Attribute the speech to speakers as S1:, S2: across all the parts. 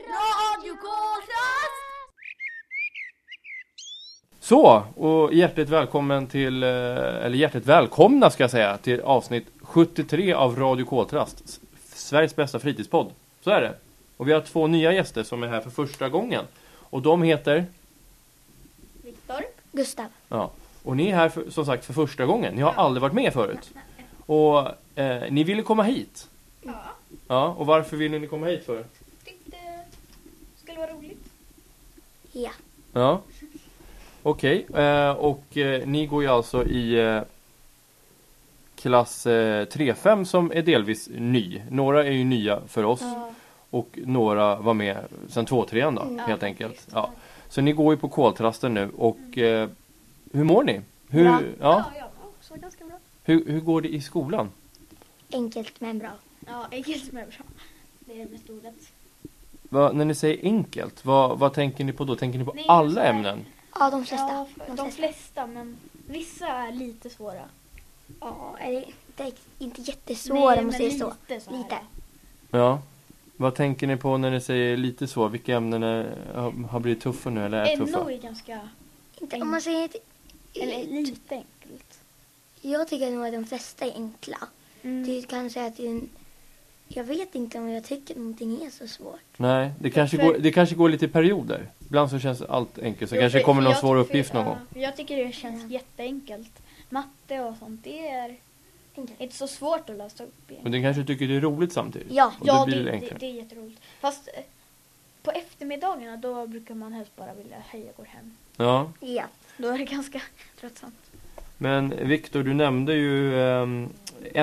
S1: Radio Kåras!
S2: Så, och hjärtligt välkommen till, eh, eller hjärtligt välkomna ska jag säga, till avsnitt 73 av Radio Koltrast. S- Sveriges bästa fritidspodd. Så är det. Och vi har två nya gäster som är här för första gången. Och de heter,
S1: Viktor.
S3: Gustav.
S2: ja, och ni är här för, som sagt för första gången. Ni har aldrig varit med förut. Och eh, ni ville komma hit.
S1: Ja.
S2: Ja, och varför ville ni komma hit för?
S1: Tyckte det skulle vara roligt.
S3: Ja.
S2: Ja. Okej, eh, och eh, ni går ju alltså i eh, klass eh, 3-5 som är delvis ny. Några är ju nya för oss och några var med sen 2-3 då,
S3: Mm.
S2: helt
S1: Ja,
S2: enkelt.
S1: visst.
S2: Ja. Så ni går ju på koltrasten nu och eh, hur mår ni? Hur,
S3: Bra.
S2: ja,
S1: jag var också ganska bra.
S2: hur, hur går det i skolan?
S3: Enkelt men bra.
S1: Ja, enkelt men bra. Det är mest ordet.
S2: Vad- när ni säger enkelt, vad, vad tänker ni på då? Tänker ni på
S1: Nej, så
S2: alla
S1: här-
S2: ämnen?
S3: Ja, de flesta.
S1: Ja,
S3: de
S1: de
S3: flesta.
S1: flesta, men vissa är lite svåra.
S3: Ja, eller inte, inte jättesvåra om man säger så.
S1: lite så. här.
S3: Lite.
S2: Ja. Vad tänker ni på när ni säger lite så? Vilka ämnen är, har- har blivit tuffa nu eller är tuffa?
S1: NO är ganska...
S3: Inte, om man säger inte,
S1: Eller
S3: eller,
S1: lite enkelt.
S3: jag tycker nog att de flesta är enkla.
S1: Mm.
S3: Det är kanske att det är en, jag vet inte om jag tycker någonting är så svårt.
S2: Nej, det kanske,
S1: för-
S2: går, det kanske går lite i perioder. Ibland så känns allt enkelt. Sen
S1: Jo,
S2: kanske
S1: för-
S2: det kommer
S1: för
S2: någon
S1: jag
S2: svår
S1: tycker-
S2: uppgift någon
S1: ja,
S2: gång.
S1: för Jag tycker det känns jätteenkelt. Matte och sånt, det är
S3: Enkelt.
S1: inte så svårt att lösa upp igen.
S2: Men den kanske tycker det är roligt samtidigt.
S3: Ja.
S2: Och då blir det,
S1: det,
S2: enklare.
S1: det är jätteroligt. Fast eh, på eftermiddagarna då brukar man helst bara vilja hej jag går hem.
S2: Ja.
S3: Ja.
S1: Då är det ganska tröttsamt.
S2: Men Viktor, du nämnde ju ehm,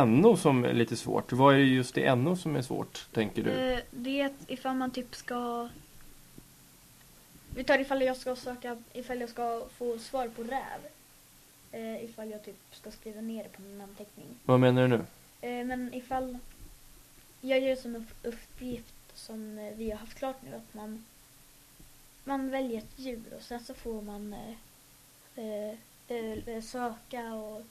S2: NO som är lite svårt. Vad är det just i NO som är svårt, tänker du?
S1: Eh, Det är att ifall man typ ska... Vi tar ifall jag ska söka, ifall jag ska få svar på räv. Eh, Ifall jag typ ska skriva ner det på min anteckning.
S2: Vad menar du nu?
S1: Eh, Men ifall jag gör som en uppgift som eh, vi har haft klart nu att man, man väljer ett djur och sen så får man eh, eh, eh, söka och...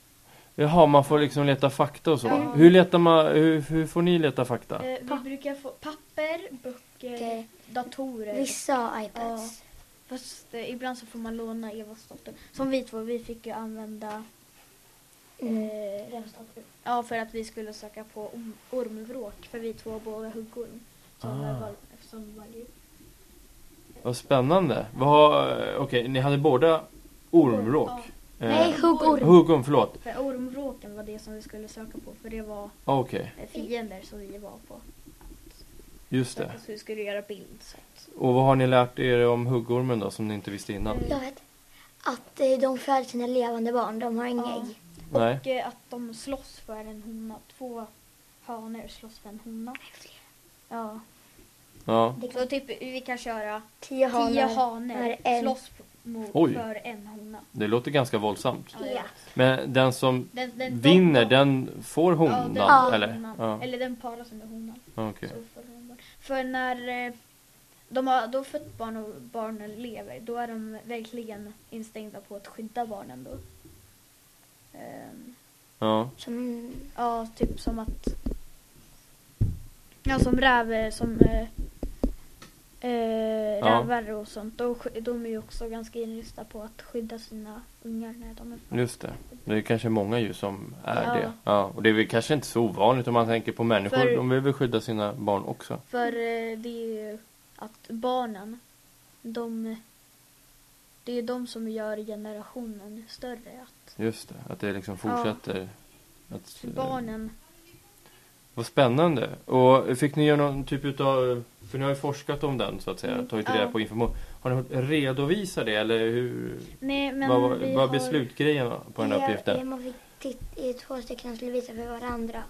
S2: Jaha, man får liksom leta fakta och så.
S1: Ja.
S2: Hur, letar man, hur, hur får ni leta fakta?
S1: Eh, vi brukar få papper, böcker,
S3: Okej.
S1: datorer.
S3: Vissa har iPads.
S1: Fast eh, ibland så får man låna Evas dator. Som vi två, vi fick ju använda
S3: Mm.
S1: eh, ja, för att vi skulle söka på orm- ormvråk för vi två båda huggorm. Som,
S2: Ah.
S1: var, som var djur.
S2: Vad spännande. Vad har- Okej, ni hade båda ormråk.
S1: Ja.
S2: Eh,
S3: Nej, huggorm.
S2: Huggorm, förlåt.
S1: För ormvråken var det som vi skulle söka på för det var
S2: Okej,
S1: eh, fiender som vi var på.
S2: just
S1: Så
S2: det.
S1: att vi skulle göra bild. Så att.
S2: Och vad har ni lärt er om huggormen då som ni inte visste innan?
S1: Mm.
S3: Jag vet att eh, de föder sina levande barn. De har inga
S1: Ja.
S3: ägg.
S2: Nej.
S1: Och eh, att de slåss för en hona. Två hanar slåss för en hona. Ja.
S2: Ja.
S1: Så typ vi kan köra
S3: Tio
S1: tio
S3: hanar.
S1: hanar
S3: är en.
S1: slåss mot,
S2: Oj.
S1: för en hona.
S2: Det låter ganska våldsamt.
S1: det är
S3: Ja.
S1: rätt.
S2: Men den som
S1: Den, den,
S2: vinner,
S1: de-
S2: den får
S1: ja, den
S2: honan,
S1: får
S2: eller?
S1: honan.
S2: Ja,
S1: Eller den paras med honan.
S2: okej.
S1: Så får de barn. För när eh, de har då fött barn och barnen lever, då är de verkligen instängda på att skydda barnen då. Ehm,
S2: Ja.
S3: Som,
S1: ja, typ som att... Ja, som räver, som... Eh, eh,
S2: Ja.
S1: rävar och sånt. Då, sk- de är ju också ganska inriktade på att skydda sina ungar när de är födda.
S2: Just det. Det är kanske många djur som är
S1: Ja.
S2: det. Ja, och det är väl kanske inte så ovanligt om man tänker på människor.
S1: För-
S2: De vill väl skydda sina barn också.
S1: För eh, det är ju att barnen, de... Det är de som gör generationen större. Att
S2: Just det, att det liksom fortsätter. Att, eh,
S1: För barnen.
S2: Vad spännande. Och fick ni göra någon typ utav, för ni har ju forskat om den så att säga,
S1: Mm.
S2: tagit
S1: Ja.
S2: reda på information. Har ni fått redovisa det eller hur?
S1: Nej, men
S2: vad var,
S1: vi
S2: vad
S1: har...
S2: beslutgrejen var på den här
S3: Ja, eh,
S2: uppgiften?
S3: Man fick titt- i två stycken som skulle visa för varandra.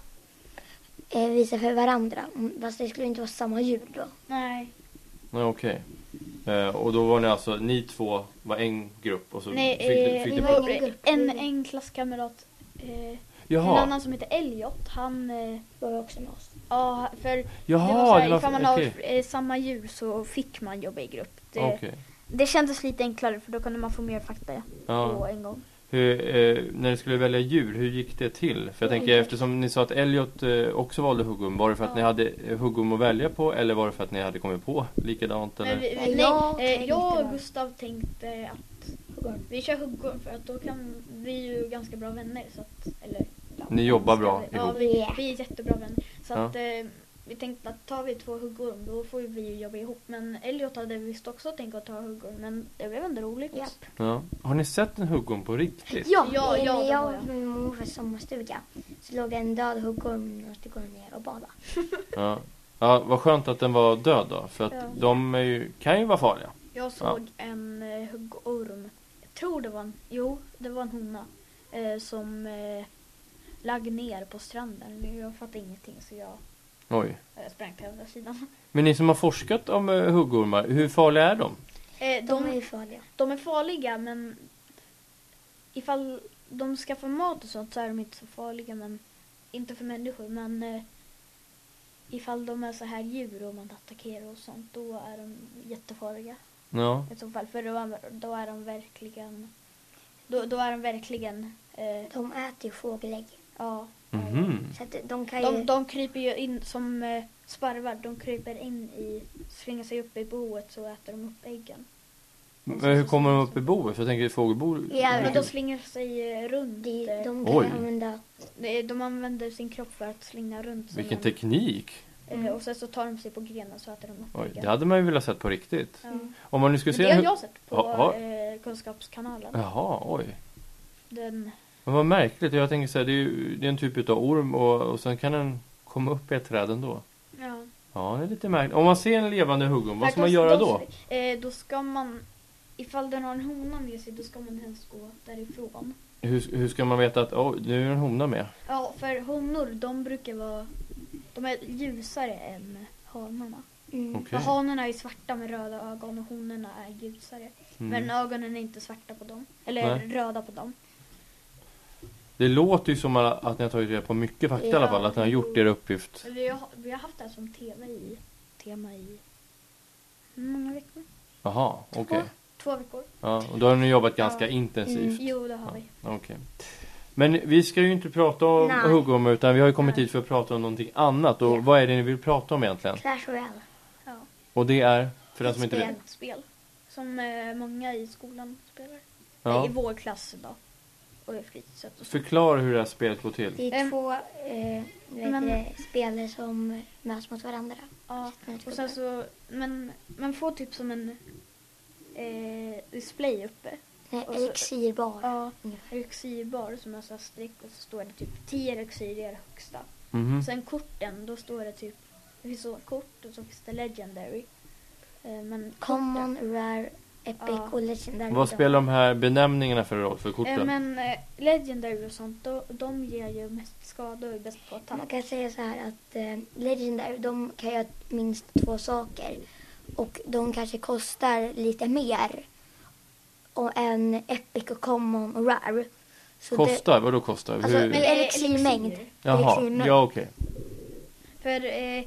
S3: Eh, visa för varandra. Mm, Fast det skulle inte vara samma djur då.
S1: Nej,
S2: Nej, okej. Eh, och då var ni alltså, ni två var en grupp och så
S1: nej
S2: fick, ni-
S1: eh,
S2: fick
S1: vi
S2: ni...
S3: det-
S1: var
S3: Ingen grupp.
S1: en, en klasskamrat. Eh, en
S2: Jaha,
S1: annan som heter Elliot, han... Eh,
S3: Då var också med oss.
S1: ja, för
S2: jaha,
S1: det var så här,
S2: det var-
S1: ifall man
S2: okej.
S1: har eh, samma djur så fick man jobba i grupp. Det,
S2: Okej.
S1: det kändes lite enklare för då kunde man få mer fakta
S2: Ja.
S1: på en gång.
S2: hur, eh, när ni skulle välja djur, hur gick det till? För jag tänker eftersom ni sa att Elliot eh, också valde huggorm, var det för att
S1: Ja.
S2: ni hade eh, huggorm att välja på eller var det för att ni hade kommit på likadant? Eller?
S1: Men
S3: Nej,
S1: vi, nej,
S3: jag
S1: jag,
S3: tänkte
S1: jag
S3: bara-
S1: och Gustav tänkte att
S3: Huggorm.
S1: vi kör huggorm för att då kan vi är ju ganska bra vänner. Så att, eller, ja,
S2: Ni jobbar bra
S1: ska vi- Ja,
S2: ihop.
S1: vi, vi är jättebra vänner. Så
S2: Ja.
S1: att, eh, vi tänkte att tar vi två huggorm då får ju vi ju jobba ihop. Men Elliot hade visst också tänkt att ta huggorm men det blev ändå roligt.
S3: Japp.
S2: Ja. Har ni sett en huggorm på riktigt?
S3: Ja,
S1: Ja,
S3: när
S1: ja, det
S3: jag
S1: var
S3: var
S1: jag.
S3: på min morfars sommarstuga så låg det en död huggorm och så går ner och badade.
S2: Ja. ja, vad skönt att den var död då, för att
S1: Ja.
S2: de är ju, kan ju vara farliga.
S1: Jag såg en eh, huggorm. Jag tror det var en, jo, det var en hona. Eh, som eh, lagg ner på stranden. Jag fattade ingenting så jag
S2: Oj.
S1: eh, sprang till andra sidan.
S2: Men ni som har forskat om eh, huggormar, hur farliga är de?
S1: Eh,
S3: De är
S1: de,
S3: ju farliga.
S1: de är farliga men ifall de skaffar mat och sånt så är de inte så farliga. Men, inte för människor men eh, ifall de är så här djur och man attackerar och sånt då är de jättefarliga.
S2: Ja.
S1: I så fall för då är, då är de verkligen då, då är de verkligen eh,
S3: De äter ju fågelägg.
S1: ja.
S2: Mhm.
S3: Så att de kan ju...
S1: De, de kryper ju in som eh, sparvar. De kryper in i, svingar sig upp i boet så äter de upp äggen.
S2: Men hur kommer de upp i boet? För jag tänker fågelbo...
S3: Ja,
S1: Men
S3: men-
S1: de slingar sig eh, runt.
S3: de,
S1: eh,
S3: de kan
S2: Oj.
S3: använda...
S1: De, de använder sin kropp för att slinga runt. som
S2: Vilken
S1: en-
S2: teknik!
S1: eh, Och sen så tar de sig på grenen så äter de upp
S2: Oj,
S1: äggen.
S2: det hade man ju velat sett på riktigt.
S1: ja.
S3: Mm.
S2: Om man nu skulle
S1: Men
S2: se
S1: det
S2: en hugg...
S1: har jag sett på
S2: Ja, ja.
S1: eh, Kunskapskanalen.
S2: Jaha, oj.
S1: Den,
S2: Men vad märkligt. Jag tänker så här, det är ju det är en typ utav orm och, och sen kan den komma upp i ett träd ändå.
S1: ja.
S2: Ja, det är lite märkligt. Om man ser en levande huggorm, vad ska man
S1: Fast
S2: göra
S1: de-
S2: då?
S1: Eh, då ska man, ifall den har en hona med sig, då ska man helst gå därifrån.
S2: Hur, hur ska man veta att oh, nu är en hona med?
S1: Ja, för honor de brukar vara, de är ljusare än hanarna.
S3: Mm.
S2: Okej.
S1: För hanarna är ju svarta med röda ögon och honorna är ljusare. Men
S2: Mm.
S1: ögonen är inte svarta på dem, eller
S2: Nej.
S1: röda på dem.
S2: Det låter ju som att att ni har tagit reda på mycket fakta i alla
S1: Ja.
S2: fall. Att ni har gjort er uppgift.
S1: Vi har, vi har haft det här som tema i, tema i hur många veckor?
S2: Jaha, okej.
S1: Två veckor?
S2: Ja, och då har ni jobbat ganska
S1: Ja. Mm,
S2: intensivt.
S1: Jo, det har vi.
S2: Okej. Men vi ska ju inte prata om
S3: Nej.
S2: huggormar utan vi har ju kommit
S1: Nej.
S2: hit för att prata om någonting annat. Och
S3: Ja.
S2: vad är det ni vill prata om egentligen?
S3: Clash Royale.
S1: Ja.
S2: Och det är, för den som inte
S3: Spel.
S2: vet.
S1: Ett spel som eh, många i skolan spelar.
S2: Ja.
S1: I vår klass då. Och i fritidset och så.
S2: Förklara hur det här spelet går till.
S3: Det är
S1: Ehm,
S3: två eh, vet
S1: men-
S3: det, spelare som möts mot varandra.
S1: Ja. Och sen så, men man får typ som en eh, display uppe.
S3: Nej,
S1: och så-
S3: elixirbar.
S1: Ja. Mm.
S3: ungefär.
S1: Elixirbar som är så här streck och så står det typ 10 elixir i det högsta.
S2: Mhm.
S1: Sen korten, då står det typ, det finns så kort och så finns det legendary. Eh, men korten-
S3: Common, rare, epic
S1: Ja.
S3: och legendary.
S2: Vad spelar de här benämningarna för roll för
S1: Eh,
S2: korten?
S1: men eh, legendary och sånt, då, de ger ju mest skada och är bäst på
S3: Man
S1: attack.
S3: kan säga så här att eh, legendary, de kan göra minst två saker. Och de kanske kostar lite mer. Och en epic och common och rare. Så
S2: Kostar? Vadå kostar?
S3: Alltså,
S2: Hur?
S3: men-
S1: eh,
S3: Elixirmängd.
S1: elixir.
S2: Jaha,
S3: liksom-
S2: ja okej.
S1: För eh,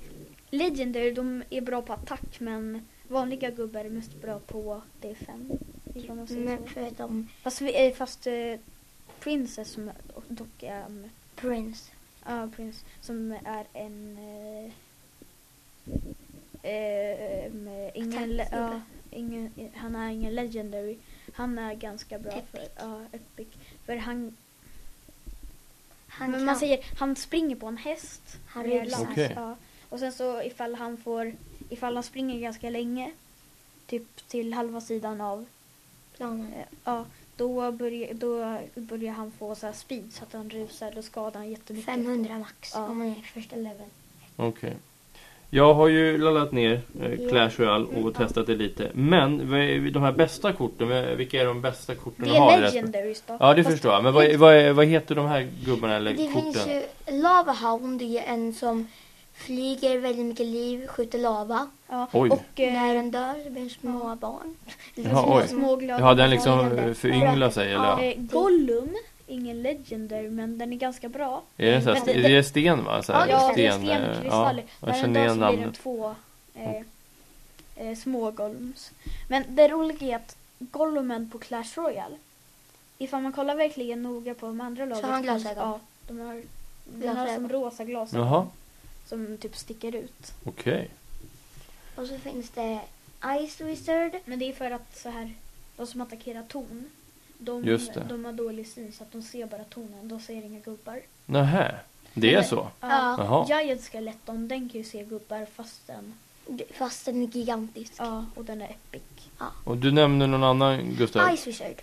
S1: Legendary de är bra på attack men vanliga gubbar är mest bra på D5. Ifall man
S3: Det,
S1: säger
S3: men
S1: så.
S3: för de
S1: Fast, vi, eh, fast eh, Princess som är- och dock är en,
S3: prince.
S1: ja, Prince som är en eh, eh, med ingen, le-
S3: Attackgubbe.
S1: ja, ingen, han är ingen legendary. Han är ganska bra
S3: Epic.
S1: för ja, epic. För han,
S3: Han
S1: men man säger, han springer på en häst.
S3: Han
S1: med
S3: rusar.
S1: lans,
S2: Okej.
S1: Ja. Och sen så ifall han får, ifall han springer ganska länge, typ till halva sidan av,
S3: planen.
S1: eh, ja, då börjar, då börjar han få så här speed så att han rusar, då skadar han jättemycket.
S3: 500 max
S1: Ja.
S3: om man är första level.
S2: Okej. Jag har ju laddat ner eh,
S3: Ja.
S2: Clash Royale och
S1: Mm, ja.
S2: testat det lite. Men vad är de här bästa korten, vad- vilka är de bästa korten
S1: Det
S2: de har? i
S1: är
S2: det här spelet?
S1: legendaries då.
S2: Ja, det
S1: Fast-
S2: förstår jag. Men vad, är- vad, är- vad heter de här gubbarna eller
S3: Det
S2: korten?
S3: finns ju Lava Hound, det är en som flyger väldigt mycket liv, skjuter lava.
S1: Ja.
S2: Oj.
S1: Och eh,
S3: När den dör så blir den små barn.
S1: små,
S2: Jaha, oj.
S1: små glada
S2: Ja, den liksom
S1: barn.
S2: eh, förynglar sig eller?
S3: Ja.
S2: Ja.
S1: Eh, Gollum, ingen legendary men den är ganska bra.
S2: Är det, så här,
S1: Men det-
S2: det, det är sten va? Så här,
S1: ja, det är
S2: eh,
S1: stenkristaller.
S2: Ja,
S1: Men
S2: jag känner
S1: ändå
S2: igen
S1: så blir det
S2: namnet. Mm.
S1: två eh, eh, små Gollums. Men det roliga är att Gollumen på Clash Royale, ifall man kollar verkligen noga på de andra lagen.
S4: har han
S1: så kan-
S4: glasögon?
S1: Ja, de har, de har
S4: Glasögon.
S1: som rosa glasögon.
S2: Jaha,
S1: Som typ sticker ut.
S2: okej.
S4: Och så finns det Ice Wizard.
S1: Men det är för att så här, de som attackerar torn, de,
S2: Just det.
S1: de har dålig syn så att de ser bara tornen, de ser inga gubbar.
S2: Nähä, det är så?
S4: Ja.
S2: Jaha.
S1: Giant Skeleton, den kan ju se gubbar fast den,
S4: Fast den är gigantisk.
S1: ja, och den är epic.
S2: Och du nämnde någon annan Gustav?
S4: Ice Wizard.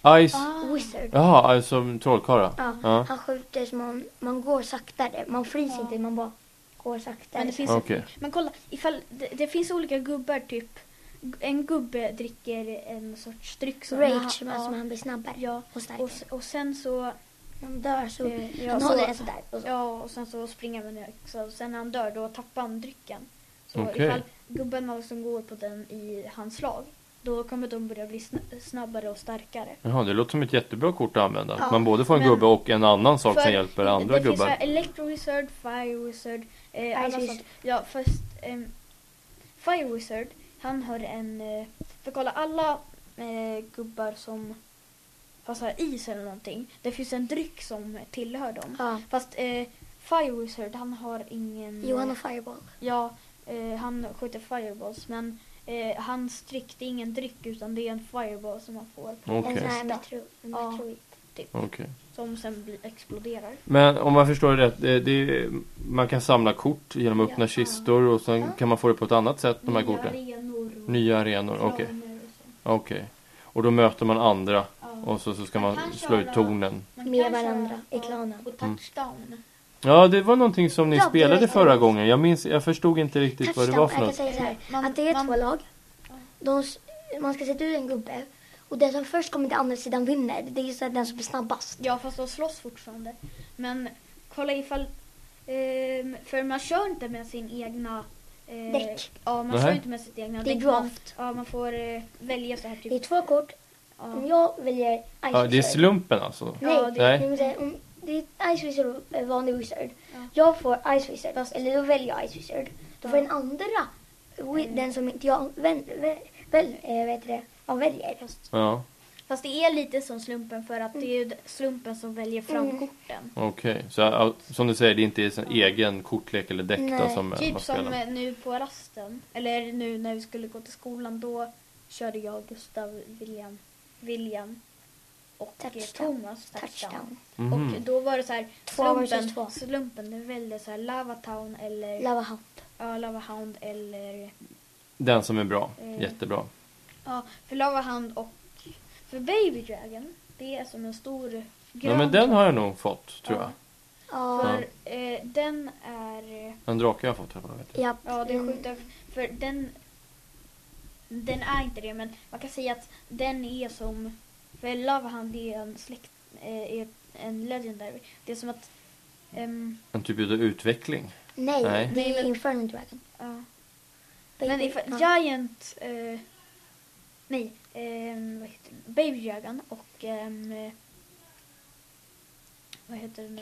S2: Ice?
S1: Ah.
S4: Wizard.
S2: Jaha, Ice som trollkarla?
S4: Ja.
S2: Ja.
S4: Han skjuter så man, man går saktare. Man fryser
S1: Ja.
S4: inte, man bara går saktare.
S1: Men det finns
S2: Okej.
S1: Men kolla, ifall det, det finns olika gubbar typ. En gubbe dricker en sorts dryck som
S4: Rage, men alltså
S1: ja,
S4: han blir snabbare
S1: ja.
S4: och
S1: Och,
S4: starkare.
S1: s- och sen så...
S4: Han dör så...
S1: eh, ja,
S4: han
S1: så-
S4: håller den sådär. Och så.
S1: Ja, och sen så springer man också. Och sen när han dör, då tappar han drycken. Så
S2: Okej.
S1: ifall gubbarna som går på den i hans slag, då kommer de börja bli sn- snabbare och starkare.
S2: Jaha, det låter som ett jättebra kort att använda.
S1: Ja,
S2: Man både får en
S1: men-
S2: gubbe och en annan sak
S1: För
S2: som hjälper andra
S1: det
S2: gubbar.
S1: finns så här Electro Wizard, Fire Wizard, eh, alla
S4: Wizard.
S1: sånt. Ja, först ehm, Fire Wizard, han har en... Eh, för kolla, alla eh, gubbar som har så här is eller någonting, det finns en dryck som tillhör dem.
S4: Ja.
S1: Fast eh, Fire Wizard, han har ingen...
S4: Johan och Fireball.
S1: Ja, eh, han skjuter fireballs, men eh, hans dryck, det är ingen dryck utan det är en fireball som man får.
S2: Okej.
S4: En sån här
S1: Ja.
S4: metro, en
S1: Ja.
S4: metroid.
S2: Okej.
S1: Som sen blir, exploderar.
S2: Men om man förstår det rätt, eh, det är, man kan samla kort genom att öppna
S1: Ja.
S2: kistor och sen
S4: Ja.
S2: kan man få det på ett annat sätt, de här
S1: Nya
S2: korten?
S1: arenor och-
S2: Nya arenor, okej.
S1: Planer och så.
S2: Okej. Och då möter man andra
S1: Ja.
S2: och så, så ska
S1: Man
S2: man
S1: kan
S2: slå ut
S1: köra-
S2: tornen.
S1: Man kan
S4: Med
S1: köra,
S4: varandra i
S1: ja,
S4: klanen. Mm.
S1: Och touchdown.
S2: Ja, det var någonting som ni
S4: Ja, det
S2: spelade
S4: var-
S2: förra gången. Jag minns, jag förstod inte riktigt Typ vad det var
S4: Touchdown,
S2: för
S4: jag kan
S2: något.
S4: säga så här,
S1: Man-
S4: att det är
S1: man-
S4: två lag. De, s- man ska sätta ut en gubbe och den som först kommer till andra sidan vinner. Det är ju så här den som blir snabbast.
S1: Ja, fast de slåss fortfarande. Men kolla ifall... ehm, för man kör inte med sin egna... eh,
S4: Däck.
S1: Ja, man
S2: Nähä.
S1: kör inte med sitt egna
S4: Det är
S1: däck. Man-
S4: draft.
S1: Ja, man får eh, välja så här typ.
S4: Det är två kort. Om
S1: ja.
S4: jag väljer Ice
S2: Ja, det är
S4: Wizard-
S2: slumpen alltså.
S4: Nej,
S1: Ja, det-
S2: Nej.
S4: Nej. men det, om, det är Ice Wizard och eh, vanlig Wizard.
S1: Ja.
S4: Jag får Ice Wizard,
S1: Fast-
S4: eller då väljer jag Ice Wizard. Då får
S1: Ja. Mm.
S4: den andra, wi- den som inte jag väl, väl, väl, eh, vad heter det? Ja, väljer.
S1: Fast,
S2: Ja,
S1: fast det är lite som slumpen för att det är ju d- slumpen som väljer fram
S4: Mm.
S1: korten.
S2: okej. Så ja, som du säger, det är inte ens en egen kortlek eller däck då
S4: Nej,
S2: som eh, man
S1: Typ som
S2: spelar.
S1: eh, nu på rasten. Eller nu när vi skulle gå till skolan. Då körde jag Gustav, William, William och touchdown.
S4: Touchdown.
S1: Thomas
S4: Touchdown.
S2: Mhm.
S1: Och då var det så här,
S4: Två versus två.
S1: slumpen, slumpen den väljer så här Lavatown eller
S4: Lava Hunt.
S1: ja, Lavahound eller
S2: Den som är bra,
S1: Mm.
S2: jättebra.
S1: ja, för Lavahound och för Baby Dragon, det är som en stor grön.
S2: Ja, men den har jag nog fått, tror jag.
S1: Ja.
S4: Ja,
S1: För eh, den är eh,
S2: En drake har jag fått, tror jag.
S4: ja.
S1: Ja, den
S4: mm,
S1: skjuter. För den... Den är inte det, men man kan säga att den är som... För Lavahand är en släkt... eh, Är en legendary. Det är som att... ehm,
S2: En typ av utveckling.
S4: Nej,
S2: Nej.
S4: det är Inferno Dragon.
S1: ja.
S4: Baby-
S1: Men ifall,
S4: ja.
S1: Giant... eh, nej, ehm, vad heter den? Baby Dragon och... ehm, eh, vad heter den?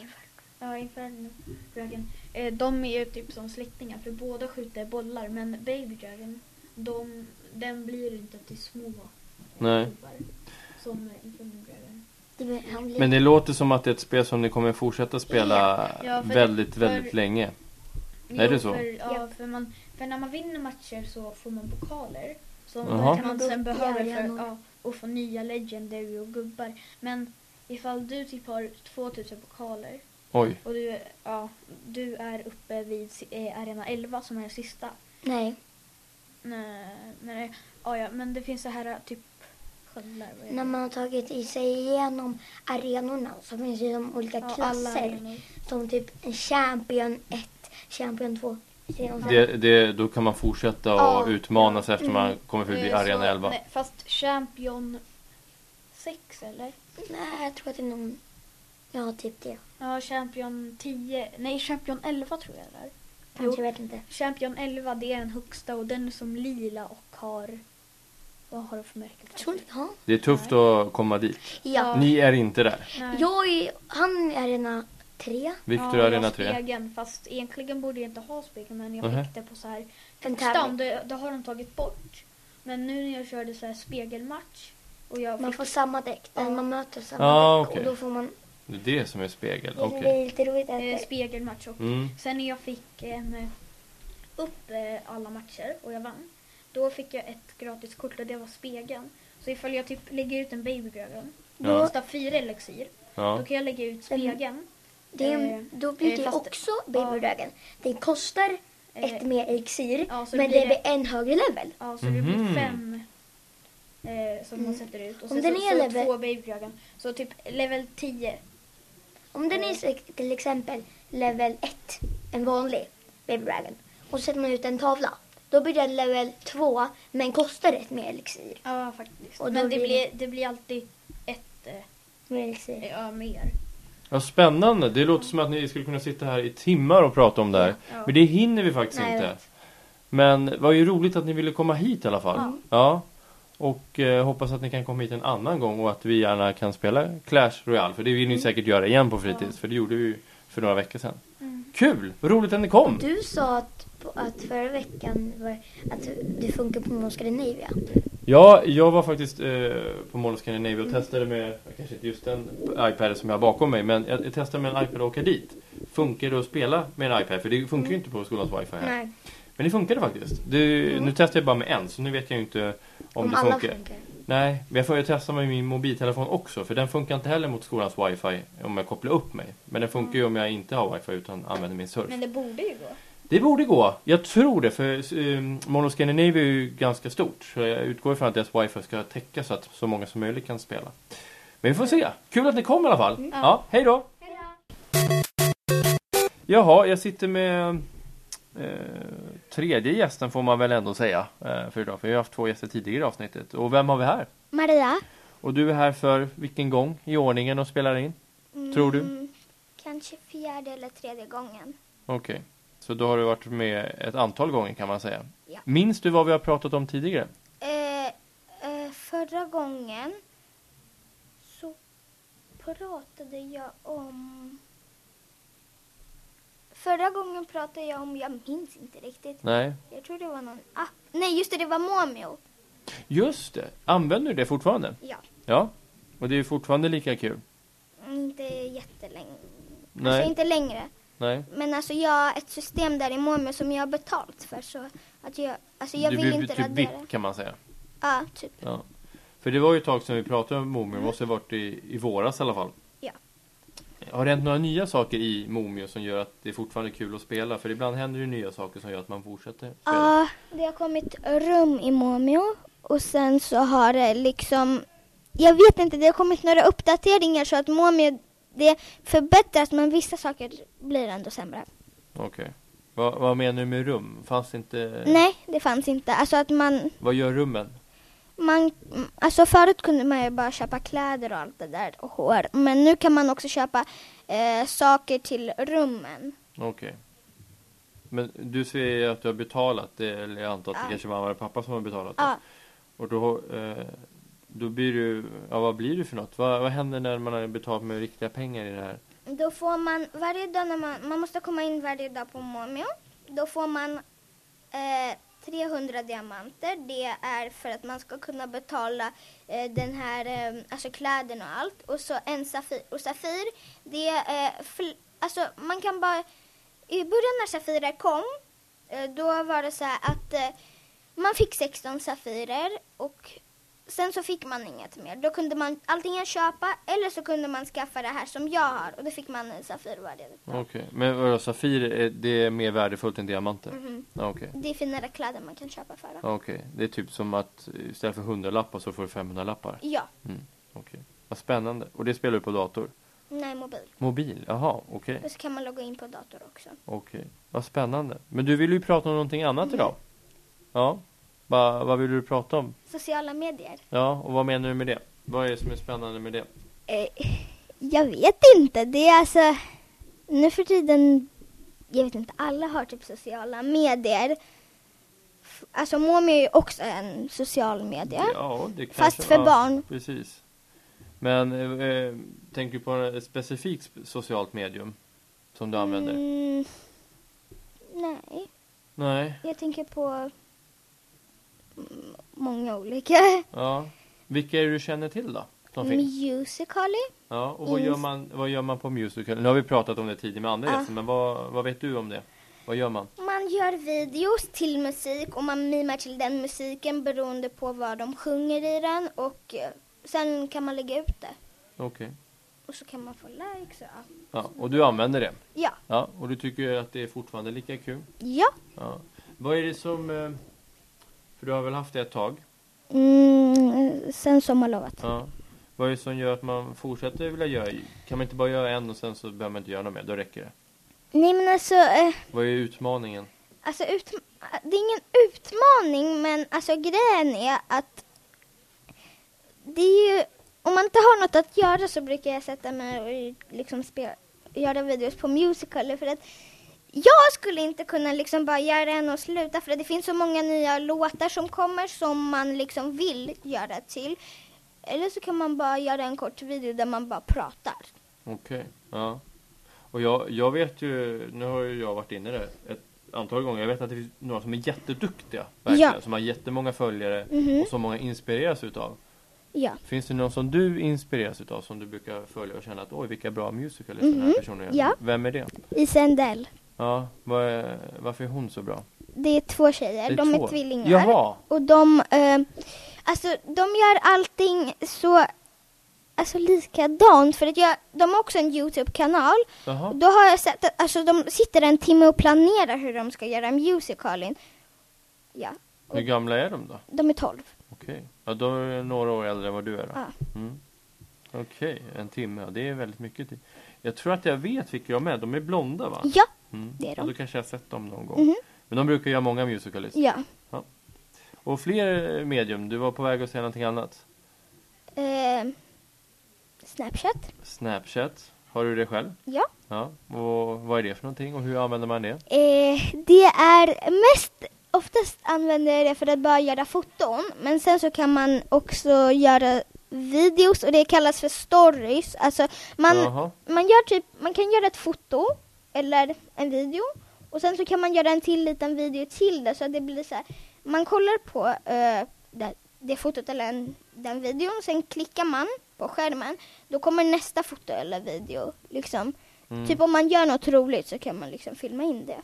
S1: Ja, Inferno Dragon. Eh, de är ju typ som släktingar för båda skjuter bollar men Baby Dragon, de, den blir inte till små
S2: Nej.
S1: gubbar. Som Inferno Dragon.
S4: Det blir- han blir-
S2: Men det låter som att det är ett spel som ni kommer fortsätta spela
S1: Ja, för-
S2: väldigt,
S1: för-
S2: väldigt länge. Är det så?
S1: För, ja,
S4: Japp.
S1: för, man, för när man vinner matcher så får man pokaler. Som
S2: Jaha.
S1: kan man sen
S4: Gubbar,
S1: behöver för,
S4: arenor.
S1: ja, och få nya legendary och gubbar. Men ifall du typ har 2000 pokaler
S2: Oj.
S1: och du, ja, du är uppe vid eh, arena 11 som är den sista.
S4: Nej.
S1: Nej, nej, ja, ja, men det finns så här typ sköldar. vad är det?
S4: När man har tagit i sig igenom arenorna så finns ju de olika
S1: Ja, alla
S4: klasser.
S1: arenor.
S4: Som typ en Champion 1, Champion 2, Champion 5.
S2: Det, det, då kan man fortsätta
S4: Ja.
S2: och utmana sig efter
S4: Mm.
S2: man kommer förbi
S1: Eh,
S2: Arena
S1: så-
S2: 11.
S1: Nej, fast Champion 6 eller?
S4: Nej, jag tror att det är någon... Ja, typ det.
S1: Ja, Champion 10. Nej, Champion 11 tror jag det är. Jo.
S4: Kanske, jag vet inte.
S1: Champion 11, det är den högsta och den är som lila och har... Vad har du för märke? på
S4: Jag tror
S1: sig?
S4: inte... Ja.
S2: Det är tufft att komma dit.
S4: ja.
S2: Ni är inte där.
S1: Nej.
S4: Jag är... Han är arena 3.
S1: Ja,
S2: Victor
S1: jag har
S2: Arena 3.
S1: Spegeln, fast egentligen borde jag inte ha spegeln men jag
S2: Mhm.
S1: fick det på så här...
S4: En
S1: Stam,
S4: tävling.
S1: det, det har de tagit bort. Men nu när jag körde så här spegelmatch Och jag
S3: Man
S1: fick,
S3: får samma däck, den
S1: Ja.
S3: man möter samma
S2: Ja,
S3: däck.
S2: Ah, okej.
S3: Och då får man...
S2: Det är det som är spegel.
S3: Det
S2: Okej.
S3: som blir lite roligt är
S1: eh,
S3: att
S1: spegelmatch också.
S2: Mm.
S1: Sen när jag fick em, upp eh, alla matcher och jag vann, då fick jag ett gratis kort och det var spegeln. Så ifall jag typ lägger ut en babygögon,
S2: Ja.
S1: ja. kostar fyra elixir,
S2: Ja.
S1: då kan jag lägga ut spegeln.
S3: det
S1: eh,
S3: är, då blir
S1: eh,
S3: det
S1: fast-
S3: också Baby Dragon. Den kostar
S1: Eh,
S3: ett mer elixir,
S1: ja, så
S3: men
S1: blir
S3: det
S1: det-
S3: blir en högre level.
S1: Ja, så det blir
S2: Mhm.
S1: fem eh, som man
S3: Mm.
S1: sätter ut. Och
S3: Om
S1: sen
S3: den
S1: så,
S3: är
S1: så
S3: level-
S1: två babygögon. Så typ level 10.
S3: Om den är se- till exempel level 1, en vanlig Baby Dragon, och så sätter man ut en tavla, då blir den level 2, men kostar ett mer elixir.
S1: Ja, faktiskt.
S3: Och då
S1: Men det
S3: blir
S1: blir, det blir alltid ett eh,
S3: Mer elixir.
S1: ja, mer.
S2: ja, spännande. Det låter som att ni skulle kunna sitta här i timmar och prata om det här.
S1: Ja.
S2: Men det hinner vi faktiskt
S3: Nej, jag
S2: inte.
S3: vet.
S2: Men det var ju roligt att ni ville komma hit i alla fall.
S1: Ja.
S2: Ja. Och eh, hoppas att ni kan komma hit en annan gång och att vi gärna kan spela Clash Royale. För det vill ni
S3: Mm.
S2: säkert göra igen på fritids. För det gjorde vi ju för några veckor sedan.
S3: Mm.
S2: Kul! Vad roligt att ni kom!
S3: Du sa att, på- att förra veckan var, att du funkar på Mons Scandinavia.
S2: Ja, jag var faktiskt eh, på Mall of Scandinavia
S3: Mm.
S2: och testade med, kanske inte just den iPad som jag har bakom mig, men jag, jag testade med en iPad och åka dit. Funkar det att spela med en iPad? För det funkar ju inte på skolans wifi här.
S3: Mm. Nej,
S2: Men det funkade faktiskt. Det, Nu testade jag bara med en, så nu vet jag ju inte om, det
S3: alla
S2: funkar. Nej, men jag får ju testa med min mobiltelefon också för den funkar inte heller mot skolans wifi om jag kopplar upp mig. Men den funkar ju om jag inte har wifi utan använder min surf.
S1: Men det borde ju gå.
S2: Det borde gå. Jag tror det för um, Mono Scandinavia är ju ganska stort. Så jag utgår ifrån att deras wifi ska täcka så att så många som möjligt kan spela. Men vi får se. Kul att ni kom i alla fall. Ja, hej då. Jaha, jag sitter med eh, tredje gästen får man väl ändå säga eh, för idag. För vi har haft två gäster tidigare i avsnittet. Och vem har vi här?
S3: Maria?
S2: Och du är här för vilken gång i ordningen och spelar in? Tror du?
S3: Mm, Kanske fjärde eller tredje gången.
S2: Okej. Så då har du varit med ett antal gånger kan man säga.
S3: Ja.
S2: Minns du vad vi har pratat om tidigare?
S3: Eh, eh, förra gången så pratade jag om... Förra gången pratade jag om, jag minns inte riktigt.
S2: Nej.
S3: Jag tror det var någon app. Nej, just det, det var Momio.
S2: Just det. Använder du det fortfarande?
S3: Ja,
S2: Ja. Och det är fortfarande lika kul?
S3: Mm, inte jättelänge.
S2: Nej.
S3: Alltså inte längre.
S2: Nej.
S3: Men alltså jag har ett system där i Momio som jag har betalt för så att jag, alltså jag
S2: du
S3: vill
S2: blir
S3: inte
S2: typ
S3: radera.
S2: VIP kan man säga.
S3: Ja, typ.
S2: Ja. För det var ju ett tag sedan vi pratade om Momio. Det måste ha varit i, i våras i alla fall.
S3: Ja.
S2: Har det hänt några nya saker i Momio som gör att det är fortfarande är kul att spela? För ibland händer det nya saker som gör att man fortsätter spela.
S4: Ja, det har kommit rum i Momio och sen så har det liksom, jag vet inte, det har kommit några uppdateringar så att Momio, det förbättras men vissa saker blir ändå sämre.
S2: Okej. Vad, vad menar du med rum? Fanns inte...
S4: Nej, det fanns inte. Alltså att man,
S2: Vad gör rummen?
S4: man, mm, alltså förut kunde man ju bara köpa kläder och allt det där och hår men nu kan man också köpa eh, saker till rummen.
S2: Okej. Men du säger ju att du har betalat det, eller jag antar att det
S4: Ja.
S2: kanske var mamma eller pappa som har betalat det.
S4: Ja.
S2: Och då, eh, då blir du, ja vad blir du för något? Vad, vad händer när man har betalat med riktiga pengar i det här?
S4: Då får man varje dag när man, man måste komma in varje dag på Momio. Då får man eh, 300 diamanter. Det är för att man ska kunna betala eh, den här, eh, alltså kläderna och allt. Och så en Safir. Och Safir, det är, eh, fl- alltså man kan bara, i början när Safirer kom, eh, då var det så här att eh, man fick 16 Safirer och Sen så fick man inget mer. Då kunde man antingen köpa eller så kunde man skaffa det här som jag har. Och då fick man en Safir varje dag.
S2: Okej. Men vadå, Safir, är, det är mer värdefullt än diamanter?
S4: Mm-hmm.
S2: Okej.
S4: Det är finare kläder man kan köpa för det.
S2: Okej. Det är typ som att istället för 100 lappar så får du 500 lappar?
S4: Ja,
S2: Mm. Okej. Vad spännande. Och det spelar du på dator?
S4: nej mobil.
S2: Mobil? Jaha, okej.
S4: Och så kan man logga in på dator också.
S2: Okej, vad spännande. Men du ville ju prata om någonting annat
S4: Mm-hmm.
S2: idag. Ja, Va, vad ville du prata om?
S4: Sociala medier.
S2: Ja, och vad menar du med det? Vad är det som är spännande med det?
S4: Eh, Jag vet inte. Det är alltså... Nu för tiden... Jag vet inte, alla har typ sociala medier. F- Alltså Momio är ju också en social media.
S2: det
S4: Fast för
S2: ja,
S4: barn.
S2: Precis. Men eh, eh, tänker du på ett specifikt sp- socialt medium som du använder?
S4: Mm, nej.
S2: Nej,
S4: Jag tänker på mm, många olika.
S2: ja. Vilka är det du känner till då? Som finns?
S4: Musical.ly.
S2: Ja, och vad
S4: Mm. Ins-
S2: gör, man, vad gör man på musical? Nu har vi pratat om det tidigare med andra
S4: Ja.
S2: gäster, men vad, vad vet du om det? Vad gör man?
S4: Man gör videos till musik och man mimar till den musiken beroende på vad de sjunger i den och eh, sen kan man lägga ut det.
S2: Okej.
S4: Och så kan man få likes och allt.
S2: Ja, och du använder det?
S4: Ja.
S2: Ja, och du tycker att det är fortfarande lika kul?
S4: Ja.
S2: Ja. Vad är det som... eh, För du har väl haft det ett tag?
S4: Mm, sen sommarlovet.
S2: Ja. Vad är det som gör att man fortsätter vilja göra? Kan man inte bara göra en och sen så behöver man inte göra något mer? Då räcker det.
S4: Nej men alltså, eh,
S2: Vad är utmaningen?
S4: alltså ut, det är ingen utmaning men alltså grejen är att det är ju, om man inte har något att göra så brukar jag sätta mig och liksom spela, göra videos på musical för att jag skulle inte kunna liksom bara göra en och sluta för att det finns så många nya låtar som kommer som man liksom vill göra till. Eller så kan man bara göra en kort video där man bara pratar.
S2: Okej, ja. Och jag, jag vet ju, nu har ju jag varit inne i det ett antal gånger. Jag vet att det finns några som är jätteduktiga. Verkligen,
S4: Ja.
S2: Som har jättemånga följare
S4: Mhm.
S2: och som många inspireras utav.
S4: Ja.
S2: Finns det någon som du inspireras utav som du brukar följa och känna att oj vilka bra musical mm den här
S4: Mhm,
S2: personen gör?
S4: ja.
S2: Vem är det?
S4: Isendell.
S2: Ja, vad är, varför är hon så bra?
S4: Det är två tjejer,
S2: Det
S4: de
S2: två.
S4: är tvillingar.
S2: Jaha!
S4: Och de, eh, alltså de gör allting så, alltså likadant. För att jag, de har också en YouTube-kanal.
S2: Jaha.
S4: Då har jag sett att, alltså de sitter en timme och planerar hur de ska göra musicalen. Ja,
S2: Hur gamla är de då?
S4: de är tolv.
S2: Okej. Ja, då är de några år äldre än vad du är då.
S4: Ja.
S2: Mm. Okej, en timme. Ja, Det är väldigt mycket tid. Jag tror att jag vet vilka de är. De är blonda va?
S4: Ja,
S2: Mm.
S4: det är de.
S2: Och då kanske jag har sett dem någon gång.
S4: Mhm.
S2: Men de brukar göra många musicalist.
S4: ja.
S2: Och fler medium. Du var på väg att säga någonting annat.
S4: Eh, Snapchat,
S2: Snapchat. Har du det själv?
S4: ja.
S2: Ja. Och vad är det för någonting och hur använder man det?
S4: Eh, det är mest, oftast använder jag det för att bara göra foton. Men sen så kan man också göra videos och det kallas för stories. Alltså man,
S2: Jaha.
S4: man, gör typ, man kan göra ett foto eller en video och sen så kan man göra en till liten video till det så att det blir så här. Man kollar på eh, det, det fotot eller en, den videon, sen klickar man på skärmen. Då kommer nästa foto eller video liksom.
S2: Mm.
S4: Typ om man gör något roligt så kan man liksom filma in det.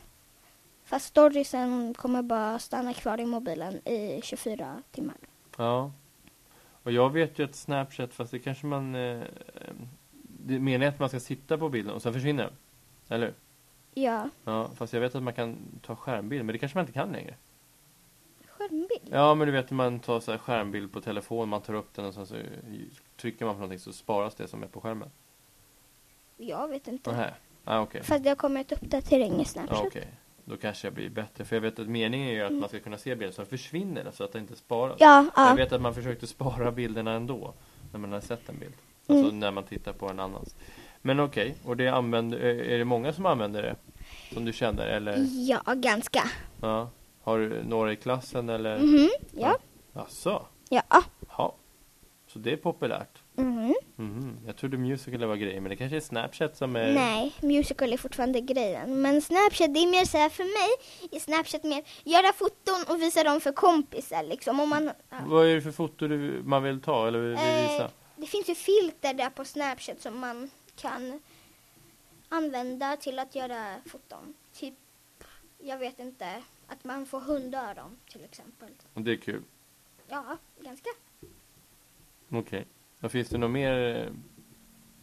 S4: Fast storiesen kommer bara stanna kvar i mobilen i 24 timmar.
S2: Ja. Och jag vet ju att Snapchat, fast det kanske man... Eh, det menar jag att man ska sitta på bilden och sen försvinner den. Eller hur?
S4: Ja,
S2: Ja, fast jag vet att man kan ta skärmbild, men det kanske man inte kan längre.
S4: skärmbild.
S2: Ja, men du vet när man tar så här skärmbild på telefon, man tar upp den och sen så trycker man på någonting så sparas det som är på skärmen.
S4: Jag vet inte.
S2: Nähä. Ja, okej.
S4: Fast det har kommit uppdatering i Snapchat.
S2: Ja, okej. Då kanske jag blir bättre, för jag vet att meningen är ju att man ska kunna se bilden så den försvinner, så att den inte sparas.
S4: Ja,
S2: Jag
S4: ja.
S2: vet att man försökte spara bilderna ändå när man har sett en bild. Alltså när man tittar på en annans. Men okej, och det använder, är det många som använder det? Som du känner eller?
S4: Ja, ganska.
S2: Ja. Har du några i klassen eller?
S4: Mhm, ja.
S2: Jaså?
S4: Ja.
S2: Ja. Så det är populärt?
S4: Mhm.
S2: Mhm. Jag trodde musical var grejen, men det kanske är Snapchat som är...
S4: Nej, musical är fortfarande grejen. Men Snapchat, det är mer så här för mig, i Snapchat mer göra foton och visa dem för kompisar liksom. Om man, ja.
S2: Vad är det för foto du, man vill ta eller vill
S4: Eh,
S2: visa?
S4: Det finns ju filter där på Snapchat som man kan använda till att göra foton. Typ, jag vet inte, att man får hundöron till exempel.
S2: Det är kul.
S4: Ja, ganska.
S2: Okej. Och Finns det något mer eh,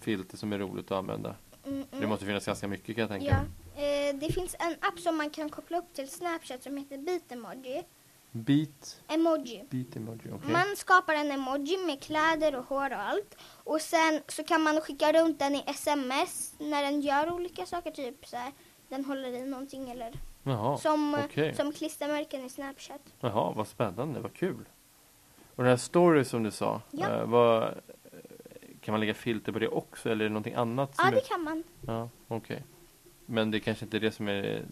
S2: filter som är roligt att använda?
S4: Mm, mm.
S2: Det måste finnas ganska mycket kan jag tänka
S4: ja.
S2: mig.
S4: eh, Det finns en app som man kan koppla upp till Snapchat som heter Beatemoji.
S2: Beat
S4: Emoji.
S2: Beat emoji, okej.
S4: Man skapar en emoji med kläder och hår och allt. Och sen så kan man skicka runt den i sms när den gör olika saker, typ så här, den håller i någonting eller
S2: Jaha,
S4: Som, eh,
S2: okej.
S4: som klistermärken i Snapchat.
S2: Jaha, vad spännande, vad kul. Och den här story som du sa,
S4: Ja.
S2: eh, vad, eh, kan man lägga filter på det också eller är det någonting annat? Som
S4: Ja, det
S2: är...
S4: kan man.
S2: Ja, okej. Men det kanske inte är det som är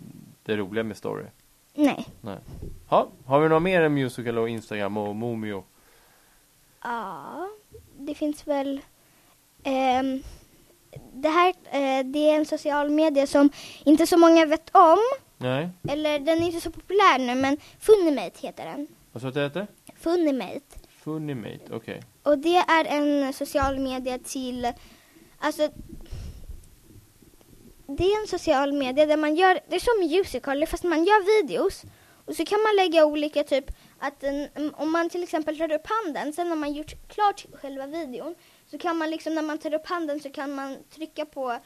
S2: det roliga med story?
S4: Nej.
S2: Nej. Ha, har vi något mer än musical och Instagram och Momio?
S4: Ja, det finns väl... ehm, det här eh, det är en social media som inte så många vet om.
S2: Nej,
S4: Eller den är inte så populär nu, men Funimate heter den.
S2: vad sa du att det hette?
S4: Funimate.
S2: Funnymate, okej.
S4: Och det är en social media till, alltså det är en social media där man gör, det är som musical fast man gör videos och så kan man lägga olika typ att en, om man till exempel tar upp handen sen när man gjort klart själva videon så kan man liksom när man tar upp handen så kan man trycka på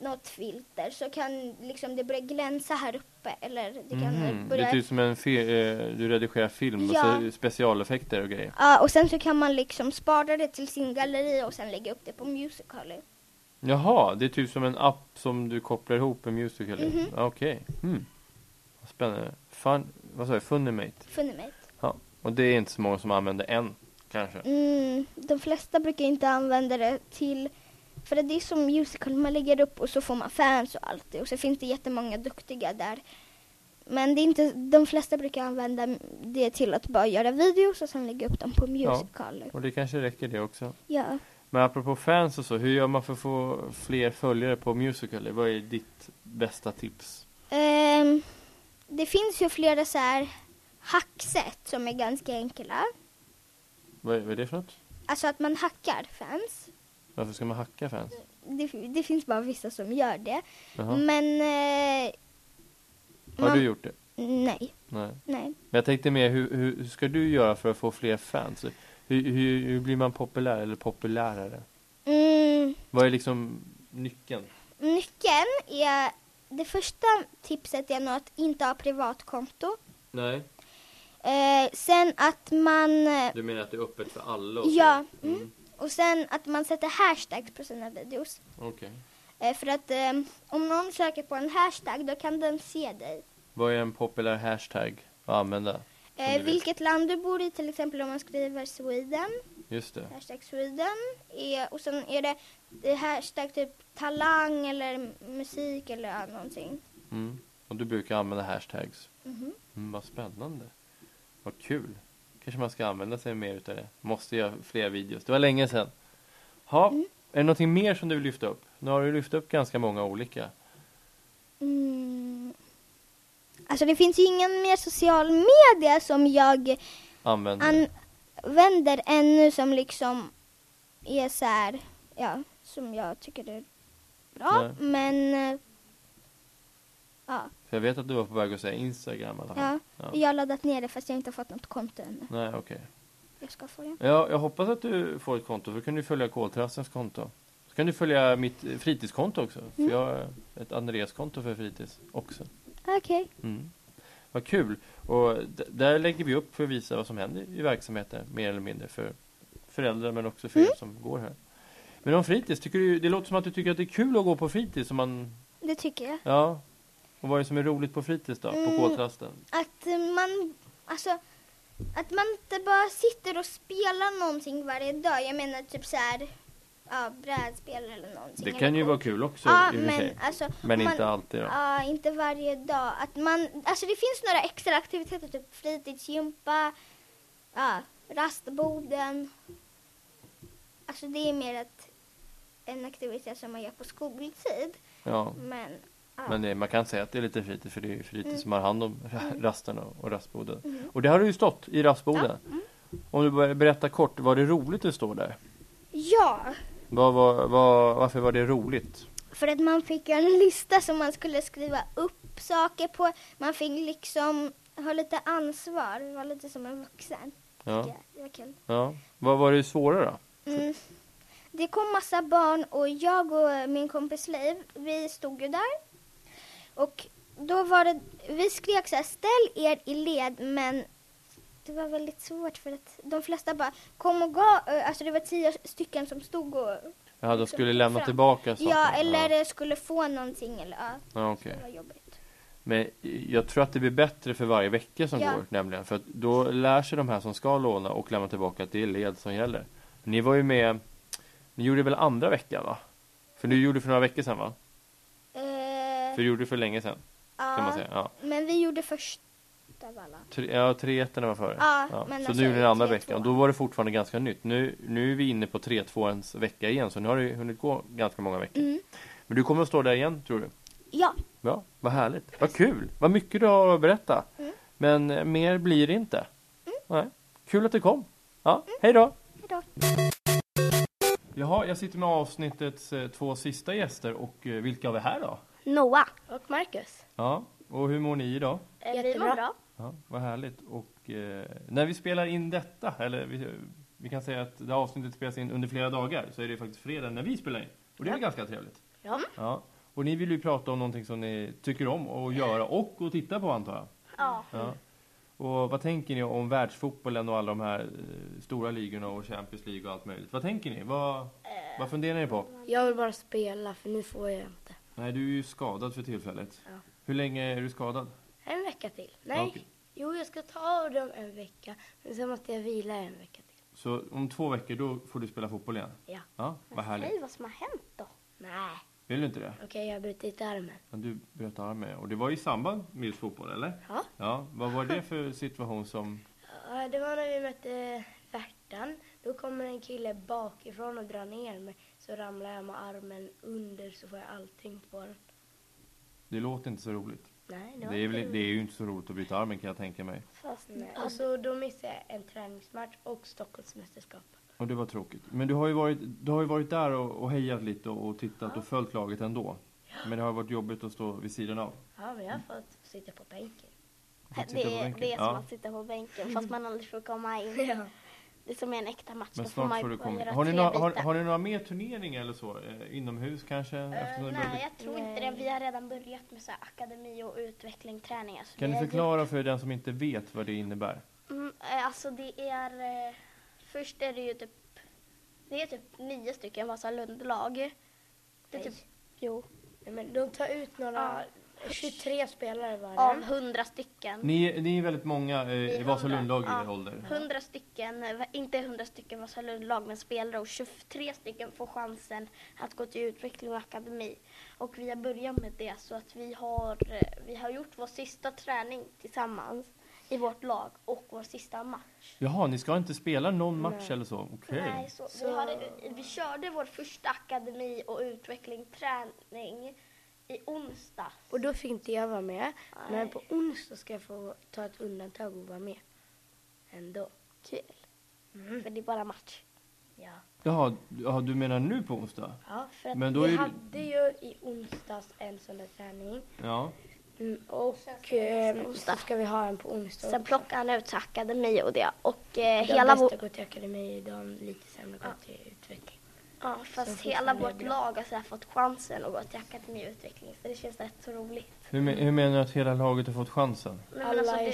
S4: något filter så kan liksom det börja glänsa här uppe eller det kan
S2: Mhm, Det
S4: börja
S2: är typ som en fi- eh, du redigerar film och
S4: Ja.
S2: så specialeffekter och grejer.
S4: Ja, och sen så kan man liksom spara det till sin galleri och sen lägga upp det på Musical.ly.
S2: Jaha, det är typ som en app som du kopplar ihop med Musical.ly?
S4: Mhm.
S2: Ah, Okej. Hmm. Vad Spännande. Fun, vad sa jag? Funimate?
S4: Funimate.
S2: Ja. Och det är inte så många som använder än, kanske?
S4: Mm, de flesta brukar inte använda det till, för det är som Musical, man lägger upp och så får man fans och allt det och så finns det jättemånga duktiga där. Men det är inte, de flesta brukar använda det till att bara göra videos och sen lägga upp dem på Musical.ly.
S2: Och det kanske räcker det också.
S4: Ja.
S2: Men apropå fans och så, hur gör man för att få fler följare på Musical.ly? Vad är ditt bästa tips?
S4: Ehm, det finns ju flera så här hacksätt som är ganska enkla.
S2: Vad är, vad är det för något?
S4: Alltså att man hackar fans.
S2: Varför ska man hacka fans?
S4: det, det finns bara vissa som gör det.
S2: Jaha.
S4: Men... Eh,
S2: Har du gjort det?
S4: Nej,
S2: Nej.
S4: nej.
S2: Men jag tänkte mer, hur, hur, hur ska du göra för att få fler fans? Hur, hur, hur blir man populär eller populärare?
S4: Mm,
S2: Vad är liksom nyckeln?
S4: nyckeln är... Det första tipset är nog att inte ha privatkonto.
S2: Nej,
S4: Eh, sen att man... eh,
S2: du menar att det är öppet för alla?
S4: och så? Ja, mm. Mm. Och sen att man sätter hashtags på sina videos.
S2: Okej.
S4: Eh, för att eh, om någon söker på en hashtag då kan den se dig.
S2: Vad är en populär hashtag att använda? Som du
S4: Eh,
S2: vet.
S4: vilket land du bor i, till exempel om man skriver Sweden.
S2: Just det.
S4: Hashtag Sweden. Är, och sen är det, det är hashtag typ talang eller musik eller ja, någonting.
S2: Mm. Och du brukar använda hashtags.
S4: Mhm.
S2: Mm, vad spännande. Vad kul. Kanske man ska använda sig mer utav det. Måste göra fler videos. Det var länge sedan. Ha, är det någonting mer som du vill lyfta upp? Nu har du lyft upp ganska många olika.
S4: Mm. Alltså det finns ju ingen mer social media som jag
S2: Använd.
S4: använder ännu som liksom är så här, ja, som jag tycker är bra.
S2: Nej.
S4: Men eh, ja,
S2: För jag vet att du var på väg att säga Instagram i alla fall.
S4: ja, jag har laddat ner det fast jag har inte fått något konto ännu.
S2: Nej, okej.
S4: Jag ska få det.
S2: Ja, jag hoppas att du får ett konto, för då kan du följa Koltrastens konto. Så kan du följa mitt eh, fritidskonto också, för jag har ett Andreas-konto för fritids också.
S4: Okej.
S2: Mm. Vad kul! Och d- där lägger vi upp för att visa vad som händer i verksamheten, mer eller mindre, för föräldrar men också för
S4: Mm.
S2: er som går här. Men om fritids, tycker du, det låter som att du tycker att det är kul att gå på fritids, om man,
S4: Det tycker jag.
S2: ja. Och vad är det som är roligt på fritids då, på
S4: Mm.
S2: koltrasten?
S4: att eh, man, alltså, att man inte bara sitter och spelar någonting varje dag. Jag menar typ så här, ja, brädspel eller någonting.
S2: Det
S4: eller
S2: kan ju
S4: kort.
S2: vara kul också
S4: ja,
S2: i och för
S4: men,
S2: sig.
S4: alltså,
S2: Men
S4: man, Ah.
S2: inte alltid då.
S4: Ja, inte varje dag. Att man, alltså det finns några extra aktiviteter, typ fritidsgympa, ja, rastboden. Alltså det är mer ett, en aktivitet som man gör på skoltid.
S2: Ja.
S4: Men, ja.
S2: Men det, man kan säga att det är lite fritid för det är ju fritid
S4: Mm.
S2: som har hand om ra- rasterna och rastboden. Och det har du ju stått i rastboden.
S4: mm.
S2: Om du bara berättar kort, var det roligt att stå där?
S4: ja.
S2: Vad, var- vad, varför var det roligt?
S4: För att man fick en lista som man skulle skriva upp saker på. Man fick liksom ha lite ansvar, vara lite som en vuxen.
S2: Ja.
S4: tycker jag. Det var kul.
S2: ja. Vad var det svåra då?
S4: Mm. Det kom massa barn och jag och min kompis Liv, vi stod ju där. Och då var det, vi skrek så här, ställ er i led men det var väldigt svårt för att de flesta bara kom och gav, alltså det var tio stycken som stod och,
S2: Ja, de skulle
S4: Liksom,
S2: lämna
S4: fram.
S2: tillbaka saker.
S4: ja eller
S2: Ja.
S4: skulle få någonting eller ja,
S2: Ja, okej.
S4: det var jobbigt.
S2: Men jag tror att det blir bättre för varje vecka som
S4: Ja.
S2: går nämligen. För att då lär sig de här som ska låna och lämna tillbaka att det är led som gäller. Ni var ju med, ni gjorde väl andra veckan va? För du gjorde för några veckor sedan va?
S4: Eh,
S2: För du gjorde för länge sedan.
S4: ja,
S2: kan man säga. Ja.
S4: Men vi gjorde först av alla.
S2: Tre, ja, tre ettorna var före.
S4: Ja,
S2: ja.
S4: men
S2: så
S4: alltså
S2: nu är det den andra
S4: tre
S2: veckan.
S4: tvåan.
S2: Då var det fortfarande ganska nytt. Nu, nu är vi inne på 3-2ans vecka igen. Så nu har det ju hunnit gå ganska många veckor.
S4: Mm.
S2: Men du kommer att stå där igen tror du?
S4: Ja,
S2: Ja, vad härligt. Vad kul. Vad mycket du har att berätta.
S4: Mm. Mm.
S2: Men eh, mer blir det inte. Nej. Kul att du kom. Ja, hej då.
S4: Hejdå.
S2: Jaha, jag sitter med avsnittets eh, två sista gäster och eh, vilka av er här då?
S3: Noah.
S5: Och Marcus.
S2: Ja, och hur mår ni idag?
S5: Eh, Vi
S3: Jättebra.
S5: mår bra.
S2: Ja, vad härligt. Och eh, när vi spelar in detta, eller vi, vi kan säga att det här avsnittet spelas in under flera dagar, så är det faktiskt fredag när vi spelar in. Och det är väl ganska trevligt?
S5: Ja.
S2: ja. Och ni vill ju prata om någonting som ni tycker om att göra och att titta på antar jag?
S4: Ja.
S2: Ja. Och vad tänker ni om världsfotbollen och alla de här eh, stora ligorna och Champions League och allt möjligt? Vad tänker ni?
S5: Eh.
S2: Vad, vad funderar ni på?
S5: Jag vill bara spela för nu får jag inte.
S2: Nej, du är ju skadad för tillfället.
S5: Ja.
S2: Hur länge är du skadad?
S5: En vecka till. Nej.
S2: Okej.
S5: Jo, jag ska ta av dem en vecka. Men sen måste jag vila en vecka till.
S2: Så om två veckor då får du spela fotboll igen?
S5: Ja.
S2: Ja, vad härligt.
S4: vad som har hänt då.
S5: Nej.
S2: Vill du inte det?
S5: Okej, jag har brutit armen.
S2: Men du bröt armen och det var i samband med just fotboll, eller?
S5: Ja.
S2: Ja, vad var det för situation som...
S5: Ja, Det var när vi mötte Värtan. Då kommer en kille bakifrån och drar ner mig. Så ramlar jag med armen under så får jag allting på den.
S2: Det låter inte så roligt.
S5: Nej, det var
S2: Det är, väl,
S5: inte
S2: det är ju inte så roligt att bryta armen kan jag tänka mig.
S4: Fast
S5: Nej. Och så då missade jag en träningsmatch och Stockholmsmästerskap.
S2: Och det var tråkigt. Men du har ju varit, du har ju varit där och, och hejat lite och, och tittat och följt laget ändå. Men det har varit jobbigt att stå vid sidan av.
S5: Ja, men jag har fått sitta på bänken.
S2: Att sitta
S4: Äh, Det
S2: på
S4: är,
S2: bänken.
S4: det är som
S2: Ja.
S4: att sitta på bänken fast man aldrig får komma in. Det är som i en äkta match.
S2: Men
S4: då får man
S2: snart får
S4: ju
S2: du
S4: bara
S2: komma in.
S4: göra
S2: Har ni,
S4: tre
S2: några, har,
S4: bitar. Äh,
S2: har ni några mer turneringar eller så? Eh, Inomhus kanske? Eftersom det börjar bli-
S4: Nej, jag tror inte det. Vi har redan börjat med så här akademi och utvecklingsträningar. Så
S2: Kan
S4: det
S2: du
S4: är-
S2: förklara för den som inte vet vad det innebär?
S4: Mm, eh, alltså det är... eh, Först är det ju typ... Det är typ nio stycken Vasalundlag. Det är typ, jo,
S5: Nej, men de tar ut några, 23 spelare var det.
S4: av hundra stycken.
S2: Ni, ni är väldigt många eh, i
S4: hundra.
S2: Vasalundlag i
S4: Ja.
S2: er ålder.
S4: Hundra stycken, eh, va- inte hundra stycken Vasalundlag, men spelare och 23 stycken får chansen att gå till utveckling och akademi. Och vi har börjat med det så att vi har, eh, vi har gjort vår sista träning tillsammans i vårt lag och vår sista match.
S2: Jaha, ni ska inte spela någon match eller så? Okej.
S4: Nej, så, Vi, hade, vi körde vår första akademi och utvecklingsträning i onsdag.
S5: Och då fick inte jag vara med. Men på onsdag ska jag få ta ett undantag och vara med. Ändå.
S4: Kul. För det är bara match.
S5: Ja.
S2: Jaha, ja, du menar nu på onsdag?
S5: ja för att
S2: Men då
S5: vi
S2: är det-
S5: hade ju i onsdags en sån där träning.
S2: Ja.
S5: Mm, och eh, så ska vi ha en på onsdag.
S4: Sen plockade han ut så akademi och det. Och eh,
S5: de
S4: hela,
S5: bästa
S4: vår,
S5: går till akademi, de lite sämre går till utveckling.
S4: ja, fast
S5: fortfarande
S4: hela
S5: är
S4: vårt
S5: bra.
S4: lag har så här fått chansen att gå till akademi och utveckling. Så det känns rätt så roligt.
S2: Hur, men, hur menar du att hela laget har fått chansen?
S4: Nej, men
S5: Alla
S4: alltså,
S5: är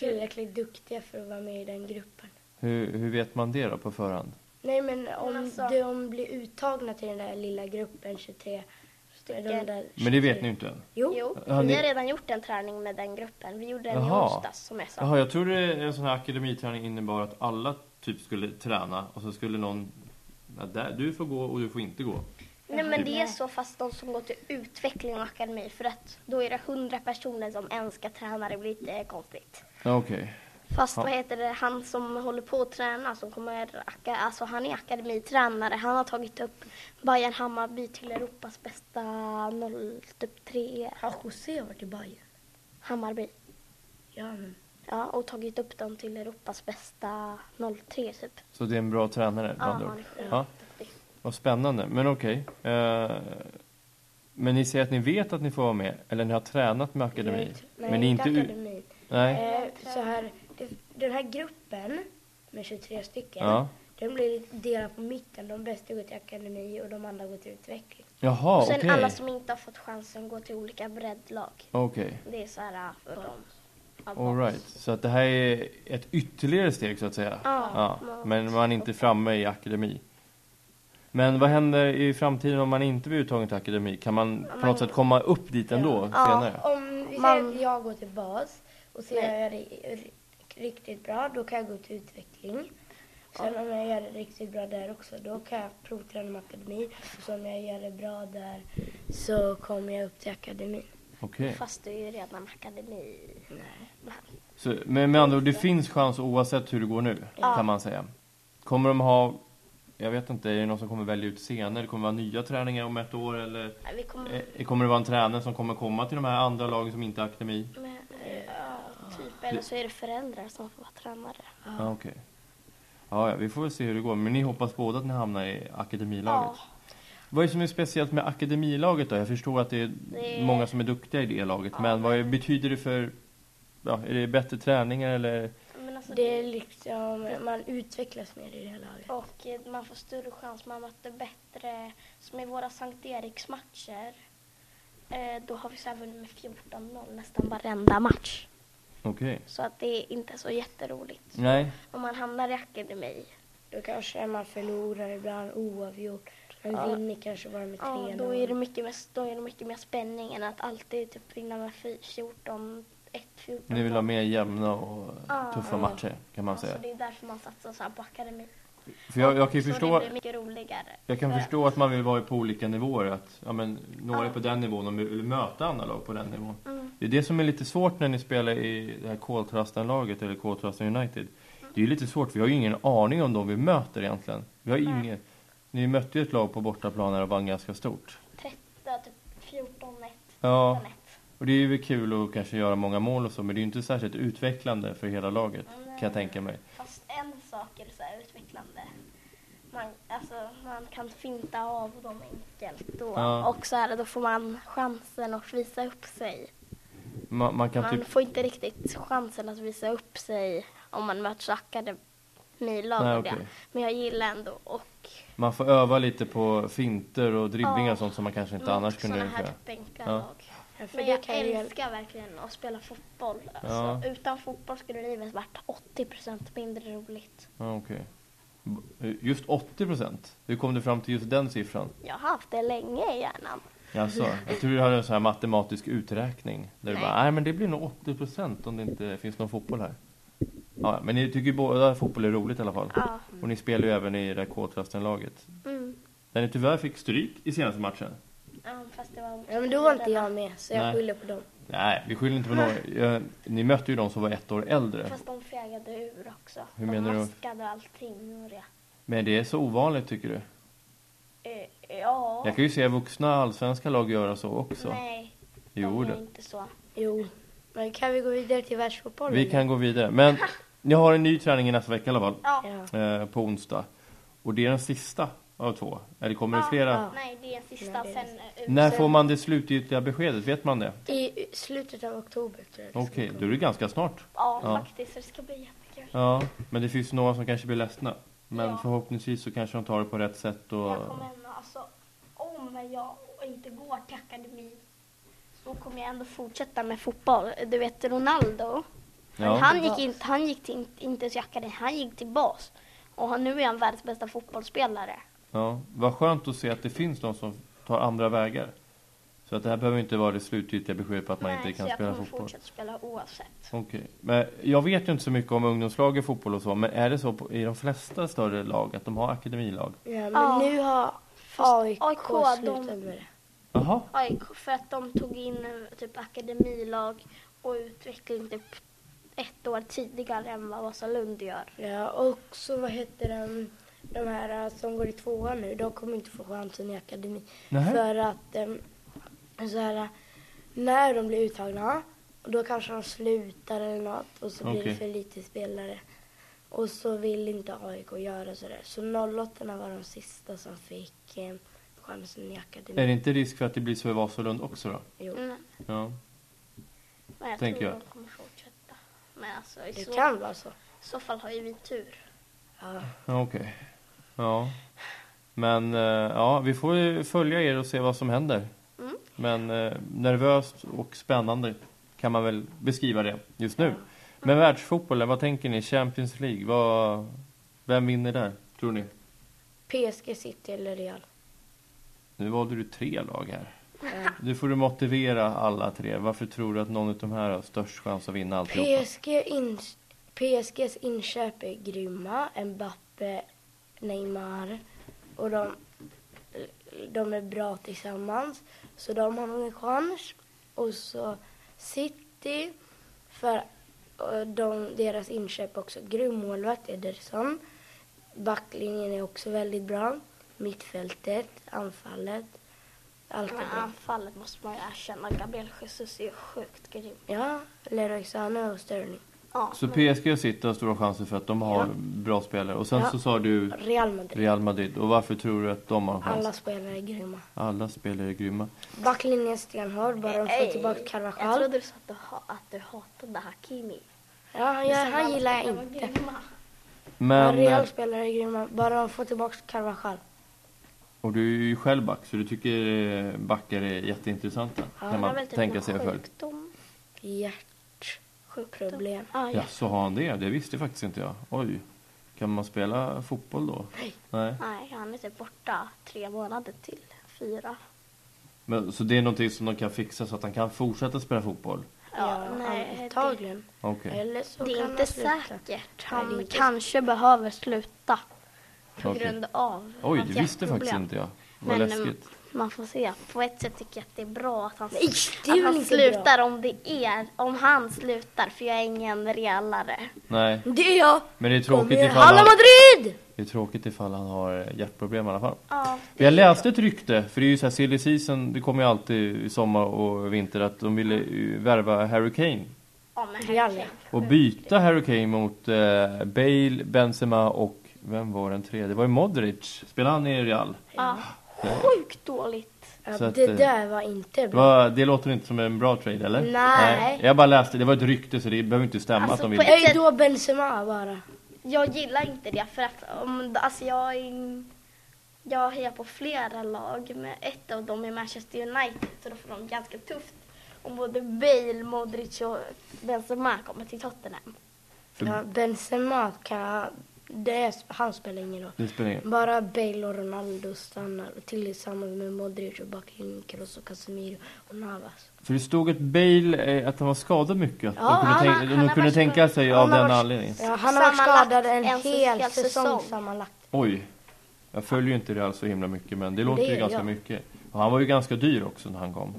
S4: det-
S5: tillräckligt duktiga för att vara med i den gruppen.
S2: Hur, hur vet man det då på förhand?
S5: Nej men om
S4: alltså-
S5: de blir uttagna till den där lilla gruppen 23
S4: Stycken.
S5: de där
S2: Men det vet
S5: 23.
S2: ni inte?
S5: Jo.
S4: Jo,
S2: Ja, ni-
S4: vi har redan gjort en träning med den gruppen. Vi gjorde den
S2: Jaha.
S4: i onsdags som jag sa.
S2: Jaha, jag trodde en sån här akademiträning innebar att alla typ skulle träna och så skulle någon... Ja, där, du får gå och du får inte gå.
S4: Nej men det är så fast de som går till utveckling och akademi för att då är det hundra personer som en ska träna, det blir lite konstigt.
S2: Ja, Okej.
S4: Fast
S2: Ja.
S4: vad heter det, han som håller på att träna som kommer, aka- alltså han är akademitränare, han har tagit upp Bayern Hammarby till Europas bästa 0, typ 3
S5: Har José varit i Bayern?
S4: Hammarby.
S5: Ja, men
S4: Ja, och tagit upp dem till Europas bästa 03 typ.
S2: Så det är en bra tränare med
S4: Ja,
S2: andra
S4: han
S2: ord.
S4: är
S2: Ja. Vad spännande, men okej. Eh, men ni säger att ni vet att ni får vara med, eller ni har tränat med akademi?
S5: nej,
S2: men ni är
S5: inte
S2: u-
S5: akademin.
S2: Nej.
S5: Eh, så här, det- den här gruppen med 23 stycken,
S2: Ja.
S5: den blir delad på mitten. De bästa går till akademi och de andra går till utveckling.
S2: Jaha,
S4: och sen
S2: okej.
S4: alla som inte har fått chansen går till olika breddlag.
S2: Okej,
S4: Det är så här äh, för dem.
S2: all right. Så att det här är ett ytterligare steg så att säga?
S4: Ja.
S2: Men man är inte framme i akademi? Men vad händer i framtiden om man inte blir uttagen till akademi? Kan man på något sätt komma upp dit ändå
S5: Ja.
S2: senare?
S5: Om vi säger
S4: Man-
S5: att jag går till bas och så gör jag ri- ri- riktigt bra, då kan jag gå till utveckling. Sen om jag gör det riktigt bra där också, då kan jag provträna med akademi. Och så om jag gör det bra där så kommer jag upp till akademin.
S2: Okej.
S4: Fast du är ju redan akademi.
S2: Så, men med andra ord, det finns chans oavsett hur det går nu, kan man säga. Kommer de ha, jag vet inte, är det någon som kommer välja ut senare? Kommer det vara nya träningar om ett år? Eller
S4: Nej, Vi kommer...
S2: eh, kommer det vara en tränare som kommer komma till de här andra lagen som inte är akademi?
S5: Eh,
S4: Men, ja, typ, eller så är det föräldrar som får vara tränare.
S2: Ja, okej. Ja, ja, vi får väl se hur det går. Men ni hoppas båda att ni hamnar i akademilaget?
S1: Ja,
S2: Vad är det som är speciellt med akademilaget då? Jag förstår att det är
S1: Det-
S2: många som är duktiga i det laget.
S5: Ja,
S2: men vad är, betyder det för... Ja, är det bättre träningar eller?
S6: Men alltså,
S5: Det är liksom, man utvecklas mer i det här laget.
S6: Och eh, man får större chans, man möter bättre, som i våra Sankt Eriks matcher. Eh, då har vi så här vunnit med 14-0 nästan varenda match.
S2: Okej.
S6: Så att det är inte så jätteroligt.
S2: Nej.
S6: Om man hamnar i akademi,
S5: Då kanske man förlorar ibland oavgjort. Man
S6: Ja.
S5: vinner kanske bara med 3-0.
S6: ja, då, är det mycket mer, då är det mycket mer spänning än att alltid typ vinna med fy- 14 1 14
S2: Ni vill ha mer jämna och
S6: Ja.
S2: tuffa matcher kan man säga.
S6: Så det är därför man satsar så här på akademi.
S2: För jag, jag kan ju
S6: så
S2: förstå...
S6: det blir mycket roligare.
S2: Jag kan
S6: För-
S2: förstå att man vill vara på olika nivåer. Att, ja, men, några är
S6: Ja.
S2: på den nivån och vill möta andra lag på den nivån.
S6: Mm.
S2: Det är det som är lite svårt när ni spelar i det här Koltrasten-laget eller Koltrasten United.
S6: Mm.
S2: Det är ju lite svårt, vi har ju ingen aning om de vi möter egentligen. Vi har ingen... Ni mötte ju ett lag på bortaplan här och vann ganska stort.
S6: 30, typ 14 1
S2: Ja,
S6: 14 1
S2: och det är ju kul att kanske göra många mål och så, men det är ju inte särskilt utvecklande för hela laget, kan jag tänka mig.
S6: Fast en sak är så här utvecklande. Man, alltså, man kan finta av dem enkelt då.
S2: Ja.
S6: Och så här, då får man chansen att visa upp sig.
S2: Man, man kan
S6: Man
S2: typ...
S6: får inte riktigt chansen att visa upp sig om man möter så akademilag.
S2: Nej,
S6: och det.
S2: okej.
S6: Men jag gillar ändå och
S2: Man får öva lite på finter och dribblingar
S6: Ja.
S2: och sånt som man kanske inte annars kunde
S6: sådana
S2: göra.
S6: här typ bänkarlag.
S5: Ja, för
S6: Men
S5: det
S6: jag
S5: kan ju hjälpa.
S6: älskar verkligen att spela fotboll. Alltså, utan fotboll skulle livet varit 80% mindre roligt.
S2: Ja, okej. B- Just 80 procent? Hur kom du fram till just den siffran?
S6: Jag har haft det länge i hjärnan.
S2: Jaså, jag tror du hade en sån här matematisk uträkning. Där du
S6: Nej.
S2: bara, nej men det blir nog 80 procent om det inte finns någon fotboll här. Ja, men ni tycker ju båda att fotboll är roligt i alla fall.
S6: Ja.
S2: Och ni spelar ju även i det här laget
S6: Mm.
S2: Där ni tyvärr fick stryk i senaste matchen.
S6: Ja, fast det var...
S5: Ja, men då var inte jag med, så jag
S2: Nej.
S5: skyller på dem.
S2: Nej, vi skyller inte på några. Jag- Ni mötte ju de som var ett år äldre.
S6: Fast de fegade ur också.
S2: Hur
S6: de
S2: menar du?
S6: maskade allting. Och det.
S2: Men det är så ovanligt tycker du?
S6: Eh, ja.
S2: Jag kan ju se vuxna allsvenska lag göra så också.
S6: Nej,
S2: Jo,
S6: de är
S2: det.
S6: inte så.
S5: Jo. Men kan vi gå vidare till världsfotbollen?
S2: Vi kan gå vidare. Men ni har en ny träning i nästa vecka i alla fall.
S6: Ja.
S5: Ja.
S2: eh, på onsdag. Och det är den sista av två. Eller kommer det
S6: Ja,
S2: flera?
S5: ja.
S6: Nej, det är sista.
S5: Nej, det är
S6: sen eh,
S2: När
S6: sen-
S2: får man det slutgiltiga beskedet? Vet man det?
S5: I slutet av oktober tror jag. det ska
S2: Okej,
S5: komma.
S2: då är det ganska snart.
S6: Ja,
S2: Ja.
S6: faktiskt. Det ska bli jättekul.
S2: Ja, men det finns några som kanske blir ledsna. Men
S6: Ja.
S2: förhoppningsvis så kanske de tar det på rätt sätt och...
S6: Jag kommer ändå, alltså, om jag inte går till akademi så kommer jag ändå fortsätta med fotboll. Du vet Ronaldo,
S2: Ja.
S6: han, gick inte, han gick till, inte till akademi, han gick till bas. Och han, nu är han världens bästa fotbollsspelare.
S2: Ja, vad skönt att se att det finns de som tar andra vägar. Så att det här behöver inte vara det slutgiltiga beskedet på att man inte
S6: så
S2: kan
S6: jag
S2: spela
S6: kommer
S2: fotboll.
S6: fortsätta spela oavsett.
S2: Okej, men jag vet ju inte så mycket om ungdomslag i fotboll och så, men är det så på, i de flesta större lag att de har akademilag?
S5: Ja, men
S6: Ja.
S5: nu har AIK,
S6: AIK, de-
S5: slutat med det.
S2: Jaha,
S6: AIK, för att de tog in eh, typ akademilag och utveckling typ ett år tidigare än vad Vasalund gör.
S5: Ja, och så vad heter den, de här eh, som går i tvåan nu, de kommer inte få chansen i akademi.
S2: Nähä.
S5: För att em, så här, eh, när de blir uttagna, då kanske de slutar eller något och så blir
S2: Okej.
S5: det för lite spelare. Och så vill inte AIK göra sådär. Så 08 var de sista som fick em, chansen i
S2: Är det
S5: akademi.
S2: inte risk för att det blir så i Vasalund också då?
S5: Jo.
S6: Mm.
S2: Ja.
S6: Men jag
S2: Tänker
S6: tror
S2: jag.
S6: de kommer fortsätta. Men alltså, i
S5: Det
S6: så,
S5: kan vara så.
S6: så fall har ju vi tur.
S5: Ja.
S2: Ja, Okej. Ja. Men eh, ja, vi får ju följa er och se vad som händer.
S6: Mm.
S2: Men eh, nervöst och spännande kan man väl beskriva det just nu. Men världsfotbollen, vad tänker ni? Champions League, vad, vem vinner där tror ni?
S5: PSG City eller Real.
S2: Nu valde du tre lag här. Nu får du motivera alla tre. Varför tror du att någon av de här har störst chans att vinna alltihopa?
S5: PSG in, PSGs inköp är grymma. Mbappe, Neymar och de, de är bra tillsammans. Så de har nog en chans. Och så City, för eh, de, deras inköp är också grym. Målvakt Ederson. Backlinjen är också väldigt bra. Mittfältet, anfallet, allt är
S6: Men
S5: bra.
S6: anfallet måste man ju erkänna. Gabriel Jesus är ju sjukt grym.
S5: Ja, Leroy Sané och Sterling. Ja,
S2: Så PSG och City har stora chanser för att de har
S5: Ja.
S2: bra spelare. Och sen
S5: Ja.
S2: så sa du
S5: Real Madrid.
S2: Real Madrid. Och varför tror du att de har en chans?
S5: Alla
S2: Alla,
S5: spelare är grymma.
S2: spelare är grymma.
S5: Backlinjen är stenhård, bara de får tillbaka
S6: Jag
S5: Carvajal.
S6: trodde du sa att du, ha- att du hatade Hakimi.
S5: Ja, jag, han gillar jag
S6: De var
S5: inte.
S6: grymma.
S5: Ja,
S2: Men, eh,
S5: Real spelare är grymma, bara de får tillbaka Carvajal.
S2: och du är ju själv back, så du tycker eh, backar är jätteintressanta.
S5: Ja,
S2: kan
S6: Han har
S2: man
S6: väl typ
S2: tänka
S6: någon
S2: sig för.
S6: sjukdom.
S5: Hjärtproblem.
S6: Ah,
S2: Ja,
S6: ja.
S2: så har han det? Det visste faktiskt inte jag. Oj. Kan man spela fotboll då? Nej.
S6: Nej, han är typ borta tre månader till. Fyra.
S2: Men, så det är någonting som de kan fixa så att han kan fortsätta spela fotboll?
S5: Ja,
S6: nej,
S5: antagligen.
S6: Eh,
S2: Okej.
S5: Eller så
S6: Det
S5: kan
S6: är
S5: han
S6: inte
S5: sluta.
S6: säkert.
S5: Nej, det är
S6: Han
S5: inte-
S6: kanske behöver sluta. På
S2: Okej.
S6: grund av
S2: Oj,
S6: hans
S2: det visste faktiskt
S6: hjärtproblem.
S2: inte jag. Vad
S6: Men
S2: läskigt.
S6: mm, man får se. På ett sätt tycker jag att det är bra att han,
S5: det är
S6: att
S5: väl
S6: han
S5: inte
S6: slutar om det är, om han slutar. För jag är ingen realare.
S2: Nej,
S5: Det är jag!
S2: men det är
S5: Kom
S2: tråkigt
S5: igen,
S2: ifall
S5: Halla
S2: han,
S5: Madrid!
S2: det är tråkigt ifall han har hjärtproblem i alla fall.
S6: Ja,
S2: För jag läste ett rykte, för det är ju så här silly season, det kommer ju alltid i sommar och vinter, att de ville ju värva Harry Kane.
S6: ja men
S5: Real.
S6: herregud.
S2: Och byta Harry Kane mot eh, Bale, Benzema och vem var den tredje? Det var ju Modric. Spelade han i Real?
S6: Ja,
S2: Nej.
S6: sjukt dåligt.
S5: Ja,
S2: Så att,
S5: det
S2: eh,
S5: där var inte bra.
S2: Va, det låter inte som en bra trade eller?
S5: Nej.
S2: Jag bara läste, det var ett rykte så det behöver inte stämma
S6: Alltså,
S2: att de
S6: på
S2: vill.
S5: Jag är då Benzema bara.
S6: Jag gillar inte det för att om, alltså jag, är- jag hejar på flera lag. Men ett av dem är Manchester United så då får de ganska tufft. Om både Bale, Modric och Benzema kommer till Tottenham.
S5: Ja,
S2: Mm.
S5: Benzema kan... Det, han spelar ingen roll.
S2: Det spelar ingen
S5: Bara Bale och Ronaldo stannar tillsammans med Modric och backlinjen Kroos och Casemiro och Navas.
S2: För det stod att Bale, eh, att han var skadad mycket. Att
S5: Ja,
S2: de kunde,
S6: han har-
S2: tänka,
S6: han
S2: de
S6: har
S2: kunde
S6: varit
S2: tänka sig av
S6: han har
S2: den
S6: varit-
S2: anledningen.
S5: Ja, han har varit
S6: Sammanlagt
S5: skadad en,
S6: en
S5: hel
S6: hel
S5: säsong,
S6: säsong.
S5: sammanlagt.
S2: Oj. Jag följer ju inte Real så himla mycket men det låter
S5: Det
S2: ju
S5: gör
S2: ganska
S5: jag.
S2: mycket. Och han var ju ganska dyr också när han kom.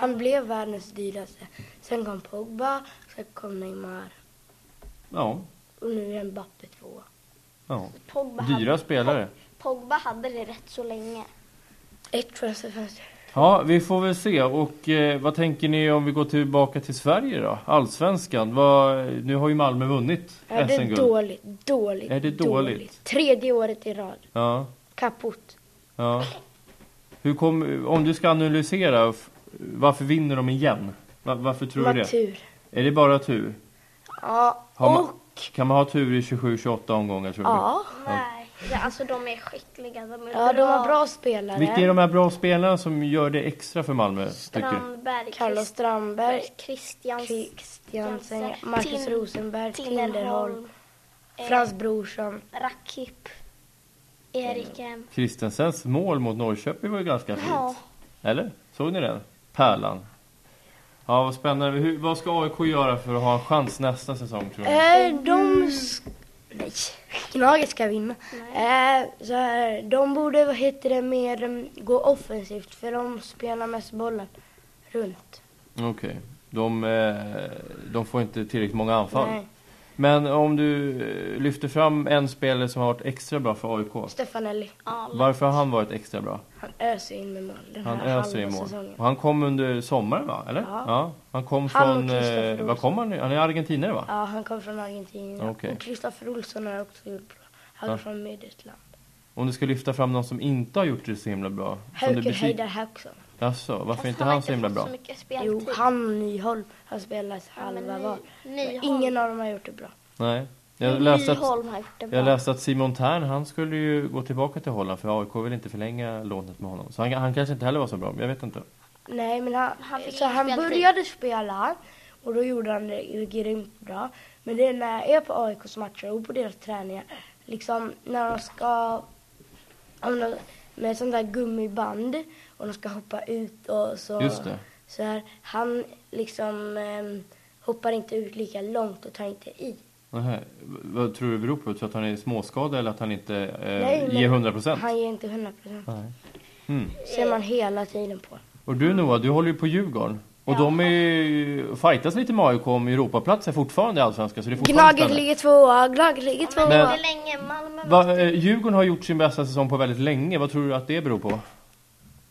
S5: Han blev världens dyraste. Sen kom Pogba, sen kom Neymar
S2: Ja.
S5: och nu är Mbappe tvåa.
S2: ja.
S6: Pogba
S2: Dyra
S6: hade,
S2: spelare.
S6: Pogba hade det rätt så länge.
S5: Ett transferfönster.
S2: Ja, vi får väl se. Och eh, vad tänker ni om vi går tillbaka till Sverige då? Allsvenskan. Vad, nu har ju Malmö vunnit
S5: Ja, det är
S2: SM-guld.
S5: dåligt, dåligt,
S2: Är det dåligt?
S5: Tredje året i rad.
S2: Ja,
S5: Kaputt.
S2: ja. Hur kom, om du ska analysera, f- varför vinner de igen? Va- varför tror du det?
S5: Natur.
S2: Är det bara tur?
S5: Ja,
S2: Har man-
S5: och...
S2: Kan man ha tur i 27-28 omgångar tror du?
S5: Ja.
S6: Nej, ja, alltså de är skickliga. De är
S5: ja,
S6: bra.
S5: de har bra spelare.
S2: Vilka är de här bra spelarna som gör det extra för Malmö? Tycker du?
S6: Strandberg,
S5: Carlos
S6: Christ-
S5: Strandberg,
S6: Christians,
S5: Kristiansen,
S6: Jansen,
S5: Marcus
S6: Tin-
S5: Rosenberg, Tinderholm,
S6: Tinderholm,
S5: Frans Brorsson.
S6: Rakip,
S2: Mm.
S6: Eriken.
S2: Kristensens mål mot Norrköping var ju ganska fint.
S6: Ja.
S2: Eller? Såg ni den? Pärlan. Ja, vad spännande. Hur, vad ska AIK göra för att ha en chans nästa säsong tror ni?
S5: Eh, de... s- Nej, Gnaget ska vinna. Eh, så här, de borde, vad heter det, mer mm, gå offensivt för de spelar mest bollen runt.
S2: Okej. De, eh, de får inte tillräckligt många anfall.
S5: Nej.
S2: Men om du eh, lyfter fram en spelare som har varit extra bra för AIK.
S5: Stefanelli,
S2: Varför har han varit extra bra?
S5: han öser in med mål den
S2: Han
S5: här
S2: öser i
S5: halva
S2: mål.
S5: säsongen.
S2: Och han kom under sommaren va? Eller?
S5: Ja.
S2: Han kom
S5: Han och
S2: från...
S5: Kristoffer
S2: eh,
S5: Olsson.
S2: var kom han? Han är argentinare va?
S5: Ja, han kom från Argentina.
S2: Okej.
S5: Och Kristoffer Olsson har också gjort bra. Han är
S2: Ja.
S5: från Midtjylland.
S2: Om du ska lyfta fram någon som inte har gjort det så himla bra. Som du
S5: Höker
S2: besvik-
S5: Heidar Hökson.
S2: Jaså, varför
S6: Fast
S2: inte han så himla
S6: fått
S2: bra?
S6: Så mycket
S5: Jo,
S6: speltid.
S5: han och Nyholm har spelat
S6: Ja, men
S5: halva
S6: Ny-
S5: var.
S6: Nyholm.
S5: Ingen av dem har gjort det bra.
S2: Nej. Jag läste, att,
S6: Nyholm har gjort det bra.
S2: jag läste att Simon Tern, han skulle ju gå tillbaka till Holland för AIK vill inte förlänga lånet med honom. Så han, han kanske inte heller var så bra, jag vet inte.
S5: Nej, men han,
S6: Han fick
S5: så
S6: ingen
S5: han
S6: speltid.
S5: började spela och då gjorde han det ju grymt bra. Men det är när jag är på AIKs matcher och på deras träningar, liksom när de ska om de, med sånt där gummiband och de ska hoppa ut och så.
S2: Just det.
S5: Så här, han liksom ehm, hoppar inte ut lika långt och tar inte i.
S2: Nähä. V- Vad tror du det beror på? Tror du att han är småskadad eller att han inte eh,
S5: Nej, men
S2: ger 100 procent?
S5: Han ger inte 100 procent.
S2: Nej. Mm.
S5: ser man hela tiden på.
S2: Och du Noah, du håller ju på Djurgården. Och de är ju, fightas lite med AIK om Europaplatser fortfarande i Allsvenskan. Så det är fortfarande
S5: Gnaget
S2: spännande.
S5: ligger tvåa, Gnaget ligger tvåa.
S2: Men-
S6: Hur länge Malmö var...
S2: Va, eh, Djurgården har gjort sin bästa säsong på väldigt länge. Vad tror du att det beror på?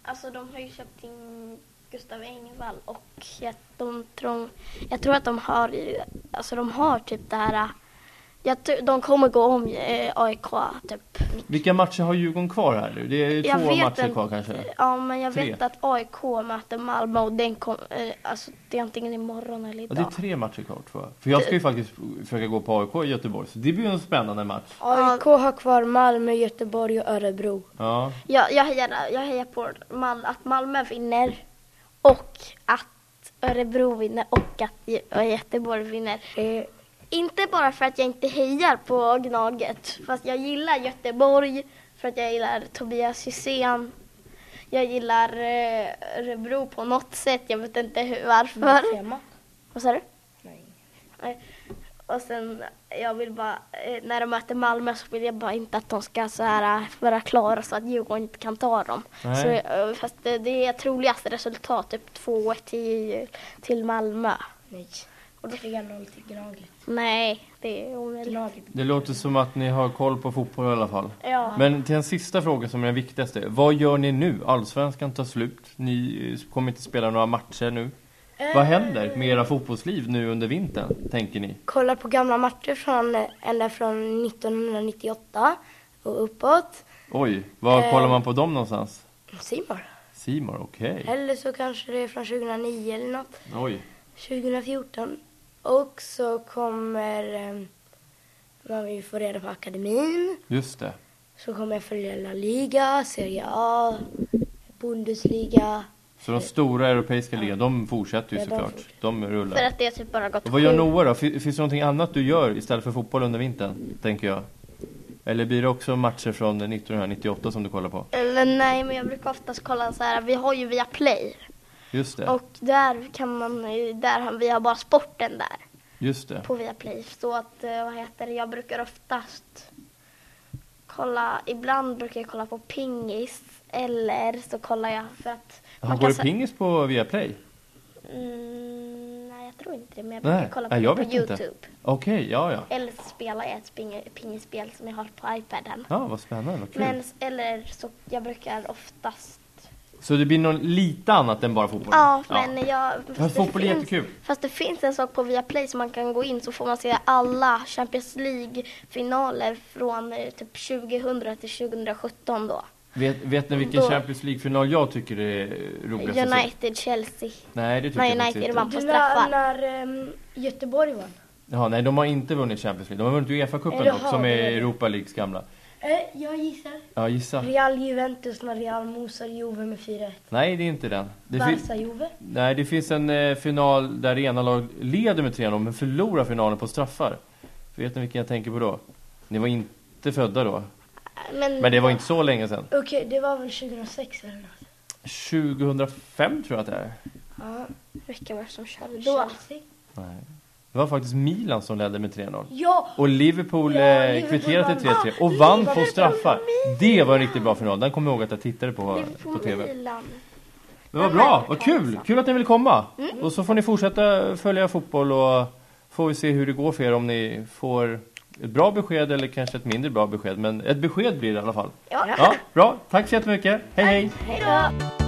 S6: Alltså de har ju köpt in Gustav Engvall och jag, de, tror- jag tror att de har, ju- alltså de har typ det här, jag, tror- de kommer gå om eh, AIK typ.
S2: Vilka matcher har Djurgården kvar här nu? Det är ju
S6: Jag
S2: två
S6: vet
S2: matcher
S6: inte.
S2: kvar kanske.
S6: Ja men jag
S2: Tre.
S6: vet att AIK möter Malmö och den kom, eh, alltså det är antingen imorgon eller
S2: Ja, det är
S6: idag.
S2: tre matcher kvar tror jag. För jag ska ju faktiskt försöka gå på AIK i Göteborg. Så det blir ju en spännande match.
S5: AIK har kvar Malmö, Göteborg och Örebro.
S2: Ja.
S6: Jag, jag, hejar, jag hejar på Mal, att Malmö vinner och att Örebro vinner och att Gö- och Göteborg vinner.
S5: Eh,
S6: Inte bara för att jag inte hejar på Gnaget, fast jag gillar Göteborg för att jag gillar Tobias Hysén. Jag gillar eh, Örebro på något sätt, jag vet inte hur, varför.
S5: Tema.
S6: Vad sa du?
S5: Nej.
S6: Nej. Och sen, jag vill bara, eh, när de möter Malmö så vill jag bara inte att de ska så här eh, vara klara så att Djurgården inte kan ta dem.
S2: Nej.
S6: Så, eh, fast det, det är troligaste resultat, typ 2-1 till, till Malmö.
S5: Nej. 3-0 till Gnaget.
S6: Nej, det är omöjligt.
S5: Gnaget.
S2: Det låter som att ni har koll på fotboll i alla fall.
S6: Ja.
S2: Men till en sista fråga som är den viktigaste. Vad gör ni nu? Allsvenskan tar slut. Ni eh, kommer inte spela några matcher nu. Vad händer med era fotbollsliv nu under vintern, tänker ni?
S5: Kolla på gamla matcher från, eh, ända från 1998 och uppåt.
S2: Oj, var
S5: Eh.
S2: kollar man på dem någonstans?
S5: Simon.
S2: Simor, okej.
S5: Eller så kanske det är från 2009 eller något.
S2: Oj.
S5: 2014. Och så kommer eh, man vill få reda på akademin.
S2: Just det.
S5: Så kommer jag följa La Liga, Serie A, Bundesliga.
S2: Så de stora europeiska ligorna, de fortsätter ju
S5: Ja, de
S2: såklart. De rullar.
S6: För att det typ bara gått
S2: Och vad gör
S6: sju-
S2: Noah då? Fin- Finns det någonting annat du gör istället för fotboll under vintern? Tänker jag. Eller blir det också matcher från 1998 som du kollar på?
S6: Eller nej, men jag brukar oftast kolla så här, vi har ju via Play.
S2: Just det.
S6: Och där kan man, där, har- vi har bara sporten där.
S2: Just det.
S6: på Viaplay. Så att, eh, vad heter det, jag brukar oftast kolla, ibland brukar jag kolla på pingis eller så kollar jag för att
S2: Jaha,
S6: kan
S2: går det
S6: sä-
S2: pingis på Viaplay?
S6: Mm, nej, jag tror inte det, men jag
S2: Nej,
S6: brukar kolla på,
S2: nej, jag
S6: det på
S2: vet inte.
S6: Youtube.
S2: Okej, ja ja.
S6: Eller så spelar jag ett ping- pingisspel som jag har på iPaden.
S2: Ja, vad spännande, vad kul.
S6: Men, s- eller så, jag brukar oftast
S2: Så det blir någon lite annat än bara fotboll?
S6: Ja, men jag...
S2: Fast fotboll är
S6: finns-
S2: jättekul.
S6: Fast det finns en sak på Viaplay som man kan gå in så får man se alla Champions League-finaler från eh, typ 2000 till 2017 då.
S2: Vet, vet ni vilken
S6: Då-
S2: Champions League-final jag tycker är roligast att se?
S6: United-Chelsea.
S2: Nej, det tycker
S6: Nej,
S2: jag faktiskt
S6: United
S2: inte.
S6: vann på straffar.
S5: när ehm, Göteborg vann.
S2: Ja, nej, de har inte vunnit Champions League. De har vunnit Uefa-cupen
S5: Eller
S2: dock,
S5: har
S2: som är
S5: de det?
S2: Europa Leagues gamla.
S5: Eh, jag gissar.
S2: Ja, gissa.
S5: Real Juventus när Real mosar Juve med 4-1.
S2: Nej, det är inte den. Det fin-
S5: Barca Juve.
S2: nej, det finns en eh, final där det ena lag leder med 3-0 men förlorar finalen på straffar. Vet ni vilken jag tänker på då? Ni var inte födda då.
S6: Men,
S2: Men det var inte så länge sedan.
S5: Okej, det var väl 2006 eller något.
S2: 2005 tror jag att det är.
S5: Ja.
S6: Vilka var det som körde då?
S5: Chelsea.
S2: Nej. Det var faktiskt Milan som ledde med 3-0.
S5: Ja!
S2: Och Liverpool
S5: Ja,
S2: eh,
S5: Liverpool
S2: kvitterade till
S5: vann.
S2: 3-3 och vann på
S5: Liverpool
S2: straffar. Det var en riktigt bra final. Den kommer jag ihåg att jag tittade på på
S6: Liverpool,
S2: TV.
S6: Milan.
S2: Men vad
S6: Den
S2: bra,
S6: verkar
S2: vad
S6: kul,
S2: kul!
S6: så.
S2: Kul att ni vill komma! Och så får ni fortsätta följa fotboll och får vi se hur det går för er om ni får ett bra besked eller kanske ett mindre bra besked. Men ett besked blir det i alla fall.
S6: Ja.
S2: ja bra, tack så jättemycket! Hej hej!
S6: Hej då!